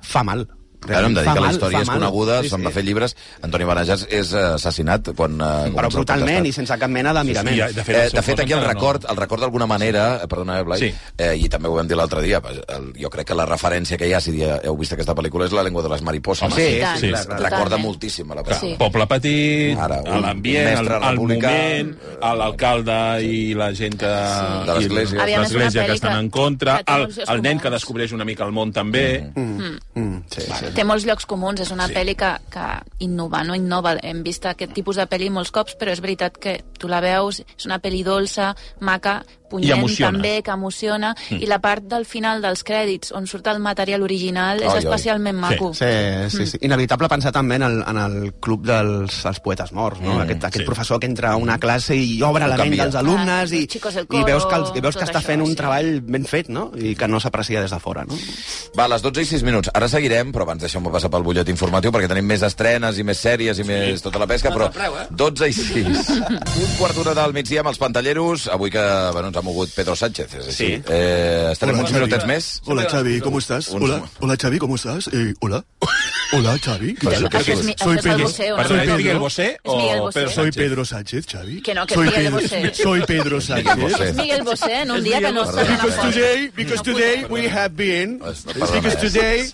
Speaker 4: fa mal.
Speaker 1: Ara Mm. em dedica
Speaker 4: Fa
Speaker 1: a la
Speaker 4: mal,
Speaker 1: història
Speaker 4: fa
Speaker 1: és
Speaker 4: mal.
Speaker 1: coneguda,
Speaker 4: Sí,
Speaker 1: se'n va
Speaker 4: sí.
Speaker 1: fer llibres. Antoni Benajas és eh, assassinat quan... eh,
Speaker 4: Però
Speaker 1: comença el
Speaker 4: brutalment
Speaker 1: potestat.
Speaker 4: i sense cap mena de mirament.
Speaker 2: i,
Speaker 1: De
Speaker 2: de
Speaker 1: fet,
Speaker 2: fet,
Speaker 1: eh,
Speaker 2: el seu
Speaker 1: de fet
Speaker 2: foc
Speaker 1: aquí el
Speaker 2: encara no.
Speaker 1: record, el record d'alguna manera, eh, perdona, Blai,
Speaker 2: Sí.
Speaker 1: eh, i també ho vam dir l'altre dia, pues, el, jo crec que la referència que hi ha, si dia- heu vist aquesta pel·lícula, és la llengua de les mariposes.
Speaker 2: Home,
Speaker 4: sí,
Speaker 3: I tant,
Speaker 2: sí,
Speaker 1: Es
Speaker 2: clar,
Speaker 1: Recorda
Speaker 3: totalment.
Speaker 1: moltíssim a la
Speaker 2: Clar,
Speaker 1: persona.
Speaker 2: sí.
Speaker 3: Sí.
Speaker 2: Poble petit,
Speaker 1: Ara,
Speaker 2: Ara,
Speaker 1: un
Speaker 2: l'ambient, el,
Speaker 1: mestre
Speaker 2: el
Speaker 1: republicà,
Speaker 2: moment, a l'alcalde i la gent que...
Speaker 1: De l'església.
Speaker 2: i
Speaker 1: Aviam,
Speaker 3: és una
Speaker 2: L'església que
Speaker 3: pel·li
Speaker 2: estan
Speaker 3: que-
Speaker 2: en contra,
Speaker 3: que té
Speaker 2: el,
Speaker 3: uns llocs
Speaker 2: el nen
Speaker 3: comuns.
Speaker 2: que descobreix una mica el món també...
Speaker 1: Mm-hmm.
Speaker 2: Mm.
Speaker 3: Té molts llocs comuns, és una sí. pel·li que, que innova, no innova. Hem vist aquest tipus de pel·li molts cops, però és veritat que tu la veus, és una pel·li dolça, maca, punyent
Speaker 2: emociona.
Speaker 3: també, que emociona, mm. i la part del final dels crèdits, on surt el material original, és
Speaker 1: Ai, ai.
Speaker 3: especialment maco.
Speaker 4: Sí, sí,
Speaker 3: Mm.
Speaker 4: sí. Inevitable pensar també en el, en el club dels, dels poetes morts, no? Mm, aquest aquest
Speaker 2: sí.
Speaker 4: sí. professor que entra a una classe i obre
Speaker 1: Ho
Speaker 4: la ment
Speaker 1: canvia.
Speaker 4: dels alumnes
Speaker 3: Ah,
Speaker 4: i,
Speaker 3: los chicos del
Speaker 4: i veus que, els, i
Speaker 3: coro,
Speaker 4: veus que
Speaker 3: tot
Speaker 4: està
Speaker 3: això,
Speaker 4: fent un
Speaker 3: sí.
Speaker 4: treball ben fet, no? I que no s'aprecia des de fora, no?
Speaker 1: Va, a les 12 i 6 minuts. Ara seguirem, però abans deixeu-me passar pel butllet informatiu, perquè tenim més estrenes i més sèries i més tota la pesca,
Speaker 5: No
Speaker 1: però
Speaker 5: te'n preu, eh?
Speaker 1: 12 i 6. un quart d'hora del migdia amb els pantalleros, avui que bueno, ens ha mogut Pedro Sánchez, és així.
Speaker 2: Sí.
Speaker 1: Eh, estarem
Speaker 10: Hola,
Speaker 1: uns
Speaker 10: Xavi.
Speaker 1: minutets més.
Speaker 10: Hola Xavi, ¿cómo estás?
Speaker 1: Un-
Speaker 10: Hola, hola Xavi, ¿cómo estás? Eh, hola. Hola Xavi, ¿qué
Speaker 1: Pero
Speaker 10: tal?
Speaker 1: eso que
Speaker 3: Això és, mi- això
Speaker 10: Soy
Speaker 3: és el
Speaker 10: Pedro.
Speaker 3: Bosé, o
Speaker 2: Perdona,
Speaker 10: Soy
Speaker 2: és
Speaker 10: Pedro.
Speaker 2: Miguel Bosé
Speaker 3: És Miguel
Speaker 2: o
Speaker 3: Bosé.
Speaker 2: Pedro
Speaker 10: Soy
Speaker 2: Sánchez?
Speaker 10: Pedro Sánchez, Xavi.
Speaker 3: Que no, que
Speaker 10: soy,
Speaker 3: es Miguel
Speaker 10: Pedro,
Speaker 3: Bosé.
Speaker 10: soy Pedro
Speaker 1: Bosé.
Speaker 10: Sánchez.
Speaker 3: És Miguel Bosé, en un dia que no
Speaker 1: Bosé.
Speaker 3: està en
Speaker 10: Because
Speaker 3: la
Speaker 10: today, because today we have been, because today,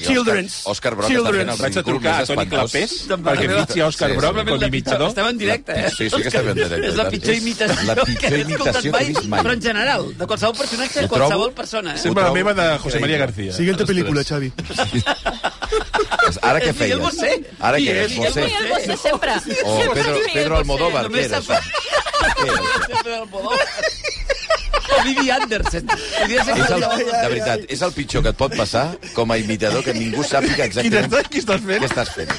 Speaker 10: children's,
Speaker 1: Òscar Brock
Speaker 10: children's.
Speaker 1: està fent
Speaker 2: Vaig a
Speaker 1: el
Speaker 2: trucar a
Speaker 1: més
Speaker 2: Toni
Speaker 1: espantós.
Speaker 2: Clapés perquè fitxi a Òscar
Speaker 1: Sí, sí.
Speaker 2: Brock
Speaker 1: Probablement
Speaker 2: com a imitador.
Speaker 5: Estem en directe, eh?
Speaker 1: Sí, sí que estem en directe.
Speaker 5: És la pitjor imitació,
Speaker 1: La pitjor
Speaker 5: que he
Speaker 1: imitació
Speaker 5: escoltat
Speaker 1: que he vist mai.
Speaker 5: Però en general, de qualsevol personatge,
Speaker 1: Ho
Speaker 5: de qualsevol
Speaker 1: trobo-
Speaker 5: persona, eh?
Speaker 1: Sí.
Speaker 2: Sembla la
Speaker 1: Ho trobo
Speaker 2: meva de José María
Speaker 1: increïble.
Speaker 2: García.
Speaker 10: Siguiente
Speaker 2: Ostres.
Speaker 10: película, Xavi.
Speaker 1: Ara què
Speaker 5: És
Speaker 1: feies?
Speaker 5: Miguel Bosé.
Speaker 1: Ara
Speaker 5: Sí,
Speaker 1: què
Speaker 5: és
Speaker 1: és
Speaker 5: Miguel
Speaker 1: Bosé?
Speaker 3: Miguel Bosé sempre.
Speaker 1: O
Speaker 3: Sempre
Speaker 1: Oh, Pedro,
Speaker 3: és Miguel
Speaker 1: Pedro
Speaker 3: Bosé.
Speaker 1: Almodóvar, què
Speaker 5: Només
Speaker 1: era
Speaker 5: sap-
Speaker 1: això? Què era això?
Speaker 5: Vivi Andersen. Podria
Speaker 1: És
Speaker 5: ser que
Speaker 1: el,
Speaker 5: jo-
Speaker 1: de veritat, és el pitjor que et pot passar com a imitador que ningú sàpiga exactament
Speaker 10: Qui estàs
Speaker 1: què estàs fent.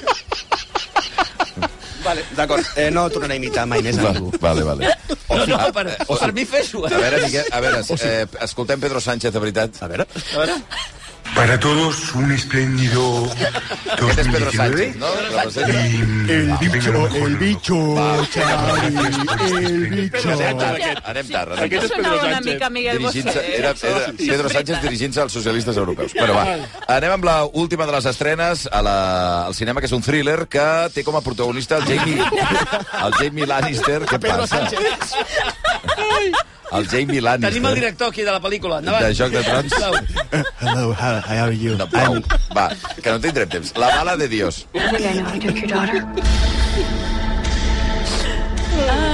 Speaker 4: Vale, d'acord. Eh, no tornaré a imitar mai més a
Speaker 1: Vale,
Speaker 4: ningú.
Speaker 1: vale. vale.
Speaker 5: No, no, per,
Speaker 1: eh,
Speaker 5: per mi fes-ho. eh?
Speaker 1: A veure, Miquel, a veure,
Speaker 2: Oh,
Speaker 1: eh, escoltem Pedro Sánchez, de veritat.
Speaker 4: A veure.
Speaker 10: Para todos, un espléndido
Speaker 1: Aquest és Pedro Sánchez, no? Representa-
Speaker 10: El bicho, el bicho, Xavi, el bicho.
Speaker 1: Anem tard, anem
Speaker 2: Aquest
Speaker 1: tard.
Speaker 2: és Pedro
Speaker 3: Sonava una
Speaker 2: Sánchez.
Speaker 3: mica Miguel
Speaker 1: dirigint-se...
Speaker 3: Bosé.
Speaker 1: Era, era Pedro Sánchez dirigint-se als socialistes europeus. Bueno, va, anem amb la última de les estrenes a la, al cinema, que és un thriller que té com a protagonista el Jamie, el Jamie Lannister. Què passa? El Jamie Lannister.
Speaker 5: Tenim el director aquí de la pel·lícula. Endavant.
Speaker 1: eh? de Joc de Trons.
Speaker 5: Sisplau.
Speaker 10: Hello, how, how are you?
Speaker 1: No, prou. Va, que no tindrem temps. La bala de Dios.
Speaker 7: I think I know how to cook your daughter.
Speaker 1: La,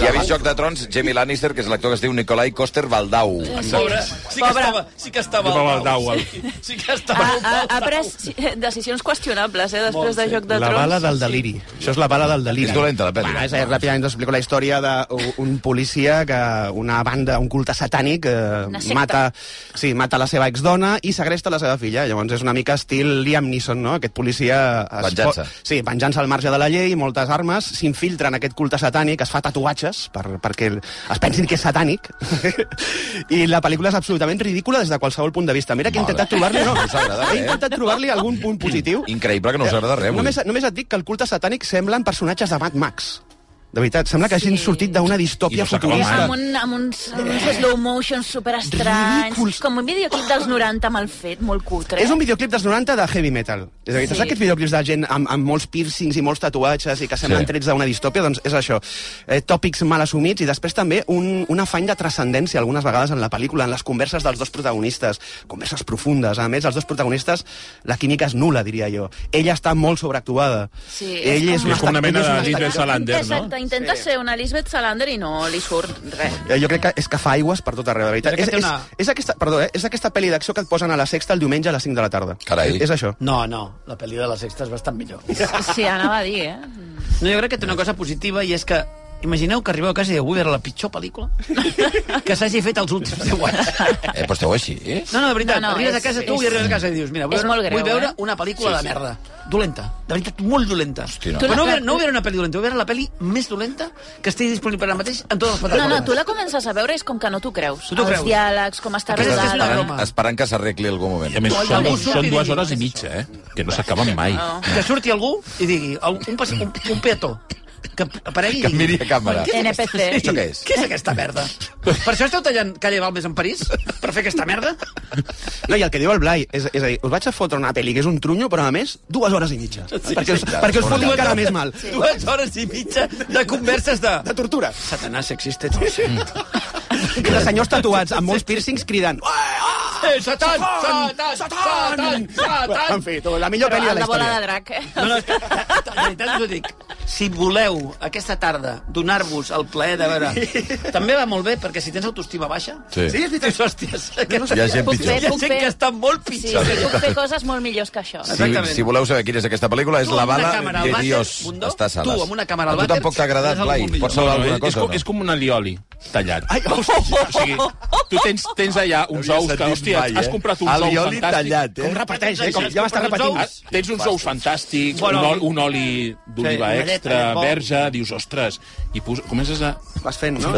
Speaker 1: qui ha vist Joc de Trons, Jamie Lannister, que és l'actor que es diu Nicolai Coster Baldau.
Speaker 5: Pobre, sí que
Speaker 3: Pobre.
Speaker 5: estava, sí que estava
Speaker 2: Estava al
Speaker 5: al
Speaker 2: dau,
Speaker 5: dau.
Speaker 2: al-
Speaker 5: Sí, sí que estava
Speaker 3: Ha,
Speaker 5: al
Speaker 3: ha,
Speaker 5: dau.
Speaker 3: Ah, ha pres sí, decisions qüestionables, eh, després de Joc de
Speaker 10: La
Speaker 3: Trons.
Speaker 10: bala del deliri. Això és la bala del deliri.
Speaker 1: És dolenta, la pel·li.
Speaker 4: Bueno, és, a dir, ràpidament us explico la història d'un policia que una banda, un culte satànic,
Speaker 3: Una
Speaker 4: eh,
Speaker 3: secta.
Speaker 4: mata, sí, mata la seva exdona i segresta la seva filla. Llavors és una mica estil Liam Neeson, no? Aquest policia... es
Speaker 1: Venjança.
Speaker 4: po- Sí, venjança al marge de la llei, moltes armes, s'infiltra en aquest culte satànic, es fa tatuar tatuatges per, perquè es pensin que és satànic. I la pel·lícula és absolutament ridícula des de qualsevol punt de vista. Mira que he
Speaker 1: Mare.
Speaker 4: intentat trobar-li... No,
Speaker 1: No us agrada eh? res.
Speaker 4: he intentat trobar-li algun punt positiu.
Speaker 1: Increïble que no us agrada res. vull dir.
Speaker 4: Només, només et dic que el culte satànic semblen personatges de Mad Max. De veritat, sembla que hagin
Speaker 3: Sí.
Speaker 4: sortit d'una distòpia
Speaker 2: I no s'acaba mai.
Speaker 4: futurista.
Speaker 3: Amb, un, amb uns, amb uns slow motion superestranys,
Speaker 4: Ridículs.
Speaker 3: com un videoclip dels 90 mal fet, molt cutre.
Speaker 4: És un videoclip dels 90 de heavy metal. És a dir,
Speaker 3: Sí.
Speaker 4: sí. aquests videoclips de gent amb, amb molts piercings i molts tatuatges i que semblen
Speaker 1: Sí.
Speaker 4: sí. trets d'una distòpia, doncs és això. Eh, tòpics mal assumits i després també un, un afany de transcendència algunes vegades en la pel·lícula, en les converses dels dos protagonistes, converses profundes. A més, els dos protagonistes, la química és nula, diria jo. Ella està molt sobreactuada.
Speaker 3: Sí,
Speaker 4: Ell
Speaker 3: és
Speaker 4: és,
Speaker 3: com-
Speaker 4: un
Speaker 2: És com una
Speaker 4: estac-
Speaker 2: mena
Speaker 4: ell
Speaker 2: de
Speaker 4: un estac-
Speaker 2: Lisbeth Salander, no?
Speaker 3: Exacte, intenta sí. ser una Lisbeth Salander i no li surt res.
Speaker 4: Eh, jo crec que és que fa aigües per tot arreu, de veritat.
Speaker 5: Crec que
Speaker 4: És,
Speaker 5: té
Speaker 4: és,
Speaker 5: una-
Speaker 4: és, aquesta, perdó, eh? és aquesta pel·li d'acció que et posen a la sexta el diumenge a les 5 de la tarda.
Speaker 1: Carai.
Speaker 4: És, és això.
Speaker 5: No, no, la pel·li de la sexta és bastant millor.
Speaker 3: Sí, anava a dir, eh?
Speaker 5: No, jo crec que té una cosa positiva i és que Imagineu que arribeu a casa i dieu, "Ui, era la pitjor pel·lícula que s'hagi fet els últims 10 anys.
Speaker 1: Eh, però esteu així, eh?
Speaker 5: No, no, de veritat,
Speaker 3: No,
Speaker 5: no,
Speaker 3: no,
Speaker 5: no, arribes
Speaker 3: és-
Speaker 5: a casa tu
Speaker 3: és-
Speaker 5: i arribes a casa i dius, mira, vull,
Speaker 3: és molt greu,
Speaker 5: vull veure
Speaker 3: eh?"
Speaker 5: una pel·lícula sí, de merda, dolenta, de veritat, molt dolenta.
Speaker 1: Hosti,
Speaker 5: Hosti,
Speaker 1: no.
Speaker 5: no.
Speaker 3: Tu la-
Speaker 5: Però no, veure, no veure una pel·li dolenta, veure la pel·li més dolenta que estigui disponible ara mateix en totes les
Speaker 3: No,
Speaker 5: plataformes.
Speaker 3: no, tu la comences a veure i és com que no t'ho creus.
Speaker 5: Tu t'ho
Speaker 3: Els
Speaker 5: creus.
Speaker 3: diàlegs, com està
Speaker 5: Penses que és una
Speaker 3: rodada...
Speaker 5: broma.
Speaker 1: Esperant que s'arregli algun moment.
Speaker 2: I a més,
Speaker 5: Oi,
Speaker 2: són,
Speaker 5: algú
Speaker 2: són
Speaker 5: surti i
Speaker 2: dues
Speaker 5: digui,
Speaker 2: hores i
Speaker 5: "Què és
Speaker 2: mitja, eh? Que no s'acaben mai.
Speaker 3: Ah. Oh.
Speaker 5: Que surti algú i digui, el- un, pas, un, un peató, que aparegui i
Speaker 1: Que
Speaker 5: digui,
Speaker 1: miri a càmera.
Speaker 5: "Què és
Speaker 3: NPC.
Speaker 5: aquesta- sí,
Speaker 1: Això què és?"
Speaker 5: Què és aquesta merda? Per això esteu tallant Calle Balmes en París? Per fer aquesta merda?
Speaker 4: No, i el que diu el Blai, és, és a dir, us vaig a fotre una pel·li que és un trunyo, però a més, dues hores i mitja. Sí, perquè, us,
Speaker 1: sí, clar,
Speaker 4: perquè us
Speaker 1: sobre
Speaker 4: foti
Speaker 1: la
Speaker 4: encara
Speaker 1: tarda.
Speaker 4: més mal. Sí.
Speaker 5: Dues hores i mitja de converses de...
Speaker 4: De tortura.
Speaker 5: Satanàs Mm. sexista, ets un
Speaker 4: I de senyors tatuats amb molts piercings cridant...
Speaker 5: Eh, Satan! Satan!
Speaker 4: Satan!
Speaker 5: Satan!
Speaker 4: Satan! En
Speaker 5: Satan!
Speaker 4: fi, tu, la millor pel·li de la
Speaker 3: la bola de
Speaker 4: història.
Speaker 3: drac, eh?
Speaker 5: No, no, és que, de veritat us ho dic. Si voleu, aquesta tarda, donar-vos el plaer de veure... També va molt bé, perquè si tens autoestima baixa...
Speaker 1: Sí. Sí,
Speaker 5: és veritat. Hòsties, que no
Speaker 1: Hi ha gent
Speaker 3: Puc
Speaker 1: pitjor.
Speaker 3: fer,
Speaker 5: Hi ha
Speaker 3: puc
Speaker 5: gent
Speaker 3: fer.
Speaker 5: que està molt
Speaker 3: Sí,
Speaker 5: pitjor.
Speaker 3: sí, puc fer coses molt millors que això.
Speaker 1: Si,
Speaker 5: Exactament.
Speaker 1: si voleu saber quina és aquesta pel·lícula, és
Speaker 5: Tu
Speaker 1: La
Speaker 5: amb una
Speaker 1: bala
Speaker 5: càmera al
Speaker 1: de
Speaker 5: vàter,
Speaker 1: Dios.
Speaker 5: Bundó,
Speaker 1: Està a sales.
Speaker 5: tu amb una càmera
Speaker 1: A
Speaker 5: al
Speaker 1: tu
Speaker 5: vàter,
Speaker 1: tampoc t'ha agradat,
Speaker 5: és algú
Speaker 1: Blai.
Speaker 5: millor.
Speaker 1: Pots salvar
Speaker 2: és,
Speaker 1: alguna
Speaker 2: és,
Speaker 1: cosa?
Speaker 2: com,
Speaker 1: o no?
Speaker 2: és com un alioli tallat.
Speaker 4: Ai, hòstia!
Speaker 2: O sigui, tu tens, tens allà uns
Speaker 1: havia
Speaker 2: ous que,
Speaker 1: sentit
Speaker 2: hòstia,
Speaker 1: mai,
Speaker 2: has
Speaker 1: eh?
Speaker 2: comprat uns
Speaker 1: Alioli
Speaker 2: ous fantàstics.
Speaker 1: tallat, eh?
Speaker 4: Com repeteix, eh? Com, ja m'està repetint.
Speaker 2: Ah, Tens uns ous fantàstics,
Speaker 5: Bon
Speaker 2: un,
Speaker 5: oli.
Speaker 2: oli, un oli d'oliva
Speaker 5: Sí, galleta,
Speaker 2: extra,
Speaker 5: bon.
Speaker 2: verge, dius, ostres, i pos, comences a...
Speaker 4: Vas fent, no?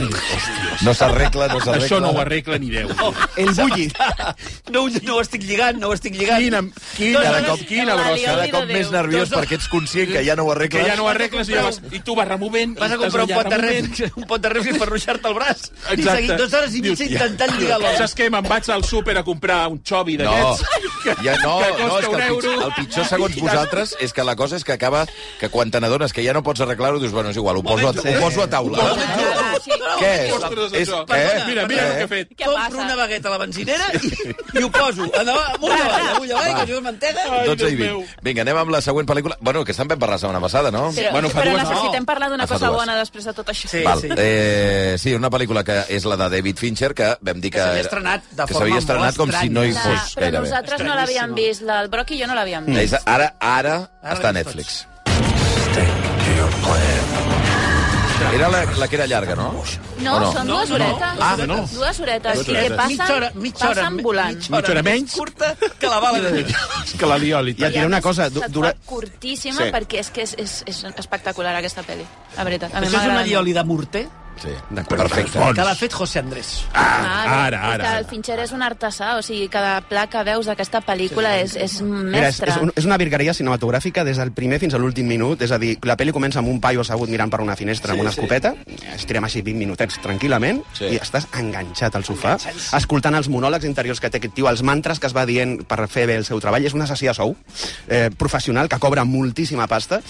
Speaker 1: No s'arregla, no s'arregla.
Speaker 2: Això no ho arregla ni Déu.
Speaker 4: El bulli.
Speaker 5: No, ho- no ho estic lligant, no ho estic lligant.
Speaker 2: Quina, quina,
Speaker 1: Cada
Speaker 5: Dos
Speaker 1: cop,
Speaker 5: hores-
Speaker 1: quina brossa, cada
Speaker 3: L'alioli
Speaker 1: cop
Speaker 3: de
Speaker 1: més
Speaker 3: Déu.
Speaker 1: nerviós
Speaker 5: Dos hores-
Speaker 1: perquè ets conscient que ja no ho
Speaker 2: que
Speaker 1: arregles.
Speaker 2: ja no ho arregles i, ja vas, i tu vas removent...
Speaker 5: Vas a
Speaker 2: i
Speaker 5: comprar un
Speaker 2: estàs allà
Speaker 5: pot de
Speaker 2: removent.
Speaker 5: refri, un pot de refri per ruixar-te el braç. I
Speaker 2: Exacte.
Speaker 5: seguir dues hores i
Speaker 2: Dius,
Speaker 5: mitja intentant lligar-lo.
Speaker 2: Saps què? Me'n vaig al súper a comprar un xovi
Speaker 1: No,
Speaker 2: d'aquests.
Speaker 1: ja no,
Speaker 2: que
Speaker 1: no,
Speaker 2: costa
Speaker 1: és que
Speaker 2: un
Speaker 1: el pitjor,
Speaker 2: euro.
Speaker 1: el pitjor, segons vosaltres, és que la cosa és que acaba que quan te n'adones que ja no pots arreglar-ho, dius, bueno, és igual, ho poso a, ho poso a taula.
Speaker 3: Ah, sí.
Speaker 1: Què és?
Speaker 2: Ostres,
Speaker 1: és eh,
Speaker 2: això.
Speaker 1: què?
Speaker 2: Mira, mira el que he
Speaker 1: Què?
Speaker 2: fet.
Speaker 3: Què
Speaker 5: Compro
Speaker 3: passa?
Speaker 5: una bagueta a la benzinera i, i ho poso. Endavant, amunt avall, amunt avall, que jo mantega.
Speaker 2: Ai,
Speaker 1: 12 i
Speaker 2: Déu
Speaker 1: 20.
Speaker 2: meu.
Speaker 1: Vinga, anem amb la següent pel·lícula. Bueno, que estan ben per la setmana passada, no?
Speaker 3: Però,
Speaker 2: Bueno,
Speaker 3: bueno,
Speaker 2: fa
Speaker 3: però
Speaker 2: dues-
Speaker 3: necessitem parlar
Speaker 1: Ah,
Speaker 3: d'una
Speaker 1: fa
Speaker 3: cosa
Speaker 1: dues.
Speaker 3: bona després de tot això.
Speaker 5: Sí.
Speaker 1: Val. Eh, sí, una pel·lícula que és la de David Fincher, que vam dir que...
Speaker 5: Que s'havia
Speaker 1: era-
Speaker 5: estrenat de
Speaker 1: que
Speaker 5: forma
Speaker 1: s'havia
Speaker 5: molt
Speaker 1: estrenat com si no hi
Speaker 5: estranya.
Speaker 3: Clar,
Speaker 1: fos
Speaker 3: doncs, però
Speaker 1: gairebé.
Speaker 3: nosaltres no l'havíem vist, la- el Broc i jo no l'havíem vist.
Speaker 1: És, ara, ara,
Speaker 5: Ara
Speaker 1: està a
Speaker 5: la veig
Speaker 1: Netflix. Era la, la que era llarga, no?
Speaker 3: No,
Speaker 1: O no?
Speaker 3: són
Speaker 5: Oh, No,
Speaker 3: dues
Speaker 5: no, no.
Speaker 3: horetes.
Speaker 2: Ah, no.
Speaker 3: Dues horetes. I que
Speaker 2: horetes.
Speaker 3: passen,
Speaker 5: mitja hora, mitja hora,
Speaker 3: passen volant.
Speaker 5: Mitja hora,
Speaker 2: Mitja hora
Speaker 5: més
Speaker 2: menys.
Speaker 5: curta que la bala de Déu.
Speaker 2: Que l'alioli...
Speaker 4: I et diré una cosa. du-
Speaker 3: Se't
Speaker 4: Dura...
Speaker 3: fa curtíssima
Speaker 4: Sí.
Speaker 3: perquè és que és, és, és espectacular aquesta pel·li. La veritat. A mi
Speaker 5: Això és
Speaker 3: m'agrada
Speaker 5: una
Speaker 3: molt.
Speaker 5: lioli de morter
Speaker 1: Sí,
Speaker 4: D'acord.
Speaker 1: perfecte.
Speaker 5: que l'ha fet José Andrés.
Speaker 2: Ara,
Speaker 3: Ah,
Speaker 2: ara,
Speaker 3: és que
Speaker 2: ara.
Speaker 3: El Fincher és un artesà, o sigui, cada pla que veus d'aquesta pel·lícula és, és un
Speaker 4: Mira, és,
Speaker 3: mestre.
Speaker 4: és, un, és una virgueria cinematogràfica des del primer fins a l'últim minut, és a dir, la pel·li comença amb un paio assegut mirant per una finestra sí, amb una escopeta, estirem així 20 minutets tranquil·lament,
Speaker 1: Sí.
Speaker 4: sí. i estàs enganxat al sofà, escoltant els monòlegs interiors que té aquest tio, els mantres que es va dient per fer bé el seu treball, és un assassí a sou, eh, professional, que cobra moltíssima pasta,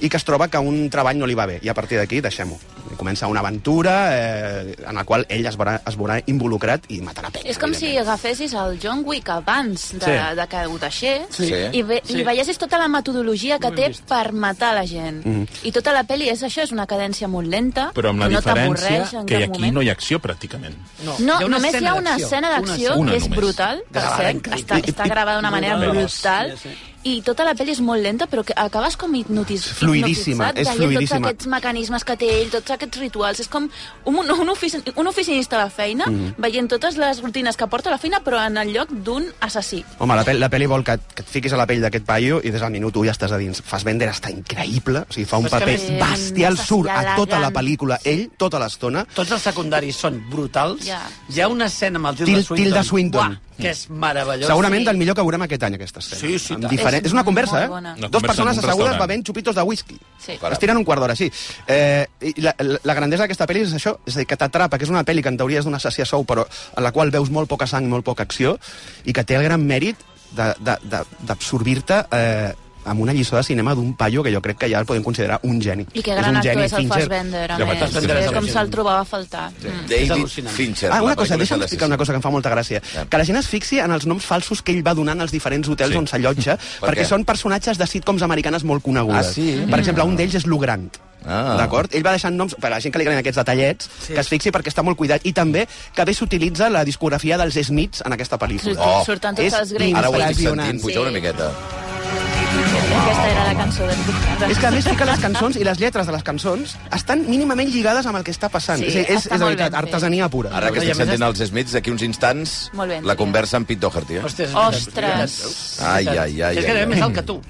Speaker 4: i que es troba que un treball no li va bé, i a partir d'aquí deixem-ho. Comença una aventura eh, en la qual ell es veurà, es veurà involucrat i matarà penya.
Speaker 3: És com si
Speaker 4: evidentment.
Speaker 3: agafessis el John Wick abans de, sí.
Speaker 5: Sí.
Speaker 3: de que ho deixés
Speaker 1: Sí.
Speaker 3: i, ve, sí. i veiessis tota la metodologia que té per matar la gent. Mm. I tota la pel·li és això, és una cadència molt lenta,
Speaker 2: Però amb la
Speaker 3: no t'avorreix
Speaker 2: diferència
Speaker 3: en
Speaker 2: que
Speaker 3: cap
Speaker 2: aquí
Speaker 3: moment.
Speaker 2: no hi ha acció, pràcticament.
Speaker 3: No,
Speaker 5: hi ha una
Speaker 3: només hi ha una
Speaker 5: d'acció.
Speaker 3: escena d'acció
Speaker 2: Una
Speaker 3: que és
Speaker 2: només.
Speaker 3: brutal, per
Speaker 5: Gravada,
Speaker 3: cert,
Speaker 5: increïble.
Speaker 3: està, està gravada d'una manera
Speaker 5: Brutal.
Speaker 3: brutal,
Speaker 5: Sí,
Speaker 3: i tota la pel·li és molt lenta, però que acabes com hipnotis,
Speaker 4: Fluidíssima,
Speaker 3: hipnotitzat
Speaker 4: és
Speaker 3: veient
Speaker 4: fluidíssima.
Speaker 3: tots aquests mecanismes que té ell, tots aquests rituals. És com un, un, oficin, un oficinista a la feina mm. veient totes les rutines que porta a la feina, però en el lloc d'un assassí.
Speaker 4: Home, la, pel la pel·li vol que, et- que et fiquis a la pell d'aquest paio i des del minut 1 ja estàs a dins. Fassbender està increïble, o sigui, fa un
Speaker 5: Però és que
Speaker 4: paper
Speaker 5: a més-
Speaker 4: bestial,
Speaker 3: Mm,
Speaker 4: surt a
Speaker 3: bestial,
Speaker 4: tota la
Speaker 3: elegant.
Speaker 4: pel·lícula, ell, tota l'estona.
Speaker 5: Tots els secundaris són brutals.
Speaker 3: Ja.
Speaker 5: Hi ha una escena amb el
Speaker 4: Til-
Speaker 5: Tilda Swinton,
Speaker 4: Tilda Swinton.
Speaker 5: Buah, que és meravellós.
Speaker 4: Segurament del millor que veurem aquest any, aquesta escena.
Speaker 5: Sí, sí,
Speaker 4: Amb
Speaker 5: tant.
Speaker 4: diferent...
Speaker 3: És
Speaker 4: és, una conversa,
Speaker 3: molt
Speaker 4: eh?
Speaker 3: bona.
Speaker 2: Una
Speaker 4: Dos
Speaker 2: conversa en un
Speaker 4: persones assegudes
Speaker 2: restaurant.
Speaker 4: bevent xupitos de whisky.
Speaker 3: Sí.
Speaker 4: Es tiren un quart d'hora, sí. Eh, i la, la, la grandesa d'aquesta pel·li és això, és a dir, que t'atrapa, que és una pel·li que en teoria és d'una sàcia sou, però en la qual veus molt poca sang, molt poca acció, i que té el gran mèrit de- de- de- d'absorbir-te eh, amb una lliçó de cinema d'un paio que jo crec que ja el podem considerar un geni.
Speaker 3: I que gran
Speaker 4: un
Speaker 3: actor
Speaker 4: geni,
Speaker 3: és el
Speaker 4: Fincher.
Speaker 3: Fassbender, a
Speaker 2: Ja,
Speaker 3: més.
Speaker 5: Fassbender
Speaker 3: que
Speaker 5: és
Speaker 3: com
Speaker 5: el-
Speaker 3: se'l trobava a faltar. Mm.
Speaker 5: És
Speaker 1: David
Speaker 5: al·lucinant.
Speaker 1: Fincher.
Speaker 4: Ah, una
Speaker 1: la
Speaker 4: cosa,
Speaker 1: pel·lícula
Speaker 4: deixa'm
Speaker 1: de
Speaker 4: explicar una cosa que em fa molta gràcia.
Speaker 1: Ja.
Speaker 4: Que la gent es fixi en els noms falsos que ell va donant als diferents hotels
Speaker 1: Sí.
Speaker 4: sí. on s'allotja,
Speaker 1: Per
Speaker 4: perquè
Speaker 1: què?
Speaker 4: són personatges de sitcoms americanes molt conegudes.
Speaker 1: Ah, sí?
Speaker 4: Per exemple, un d'ells és Lugrant.
Speaker 1: Ah.
Speaker 4: Ah. D'acord? Ell va deixant noms per a la gent que li agraden aquests detallets, sí. que es fixi perquè està molt cuidat. I també que bé s'utilitza la discografia dels Smiths en aquesta pel·lícula.
Speaker 3: Surt- Oh. surten tots
Speaker 4: És
Speaker 3: els gremis.
Speaker 1: Ara ho estic sentint,
Speaker 4: impressionant.
Speaker 1: pugeu una
Speaker 3: Sí.
Speaker 1: miqueta.
Speaker 3: Aquesta era la cançó del Lugrant.
Speaker 4: És que a més fica les cançons i les lletres de les cançons estan mínimament lligades amb el que està passant.
Speaker 3: Sí,
Speaker 4: és, és, és,
Speaker 3: està
Speaker 4: de
Speaker 3: molt
Speaker 4: veritat,
Speaker 3: ben fet.
Speaker 4: artesania pura.
Speaker 1: Ara que
Speaker 5: Però, i a
Speaker 1: estic
Speaker 5: més,
Speaker 1: sentint els Smiths, d'aquí uns instants,
Speaker 3: Molt ben,
Speaker 1: la
Speaker 3: sí.
Speaker 1: conversa amb Pete Doherty. Eh?
Speaker 5: Ostres,
Speaker 3: Ostres.
Speaker 1: Ai, ai, ai,
Speaker 5: És
Speaker 1: ai,
Speaker 5: que
Speaker 1: ai.
Speaker 5: és més alt que tu.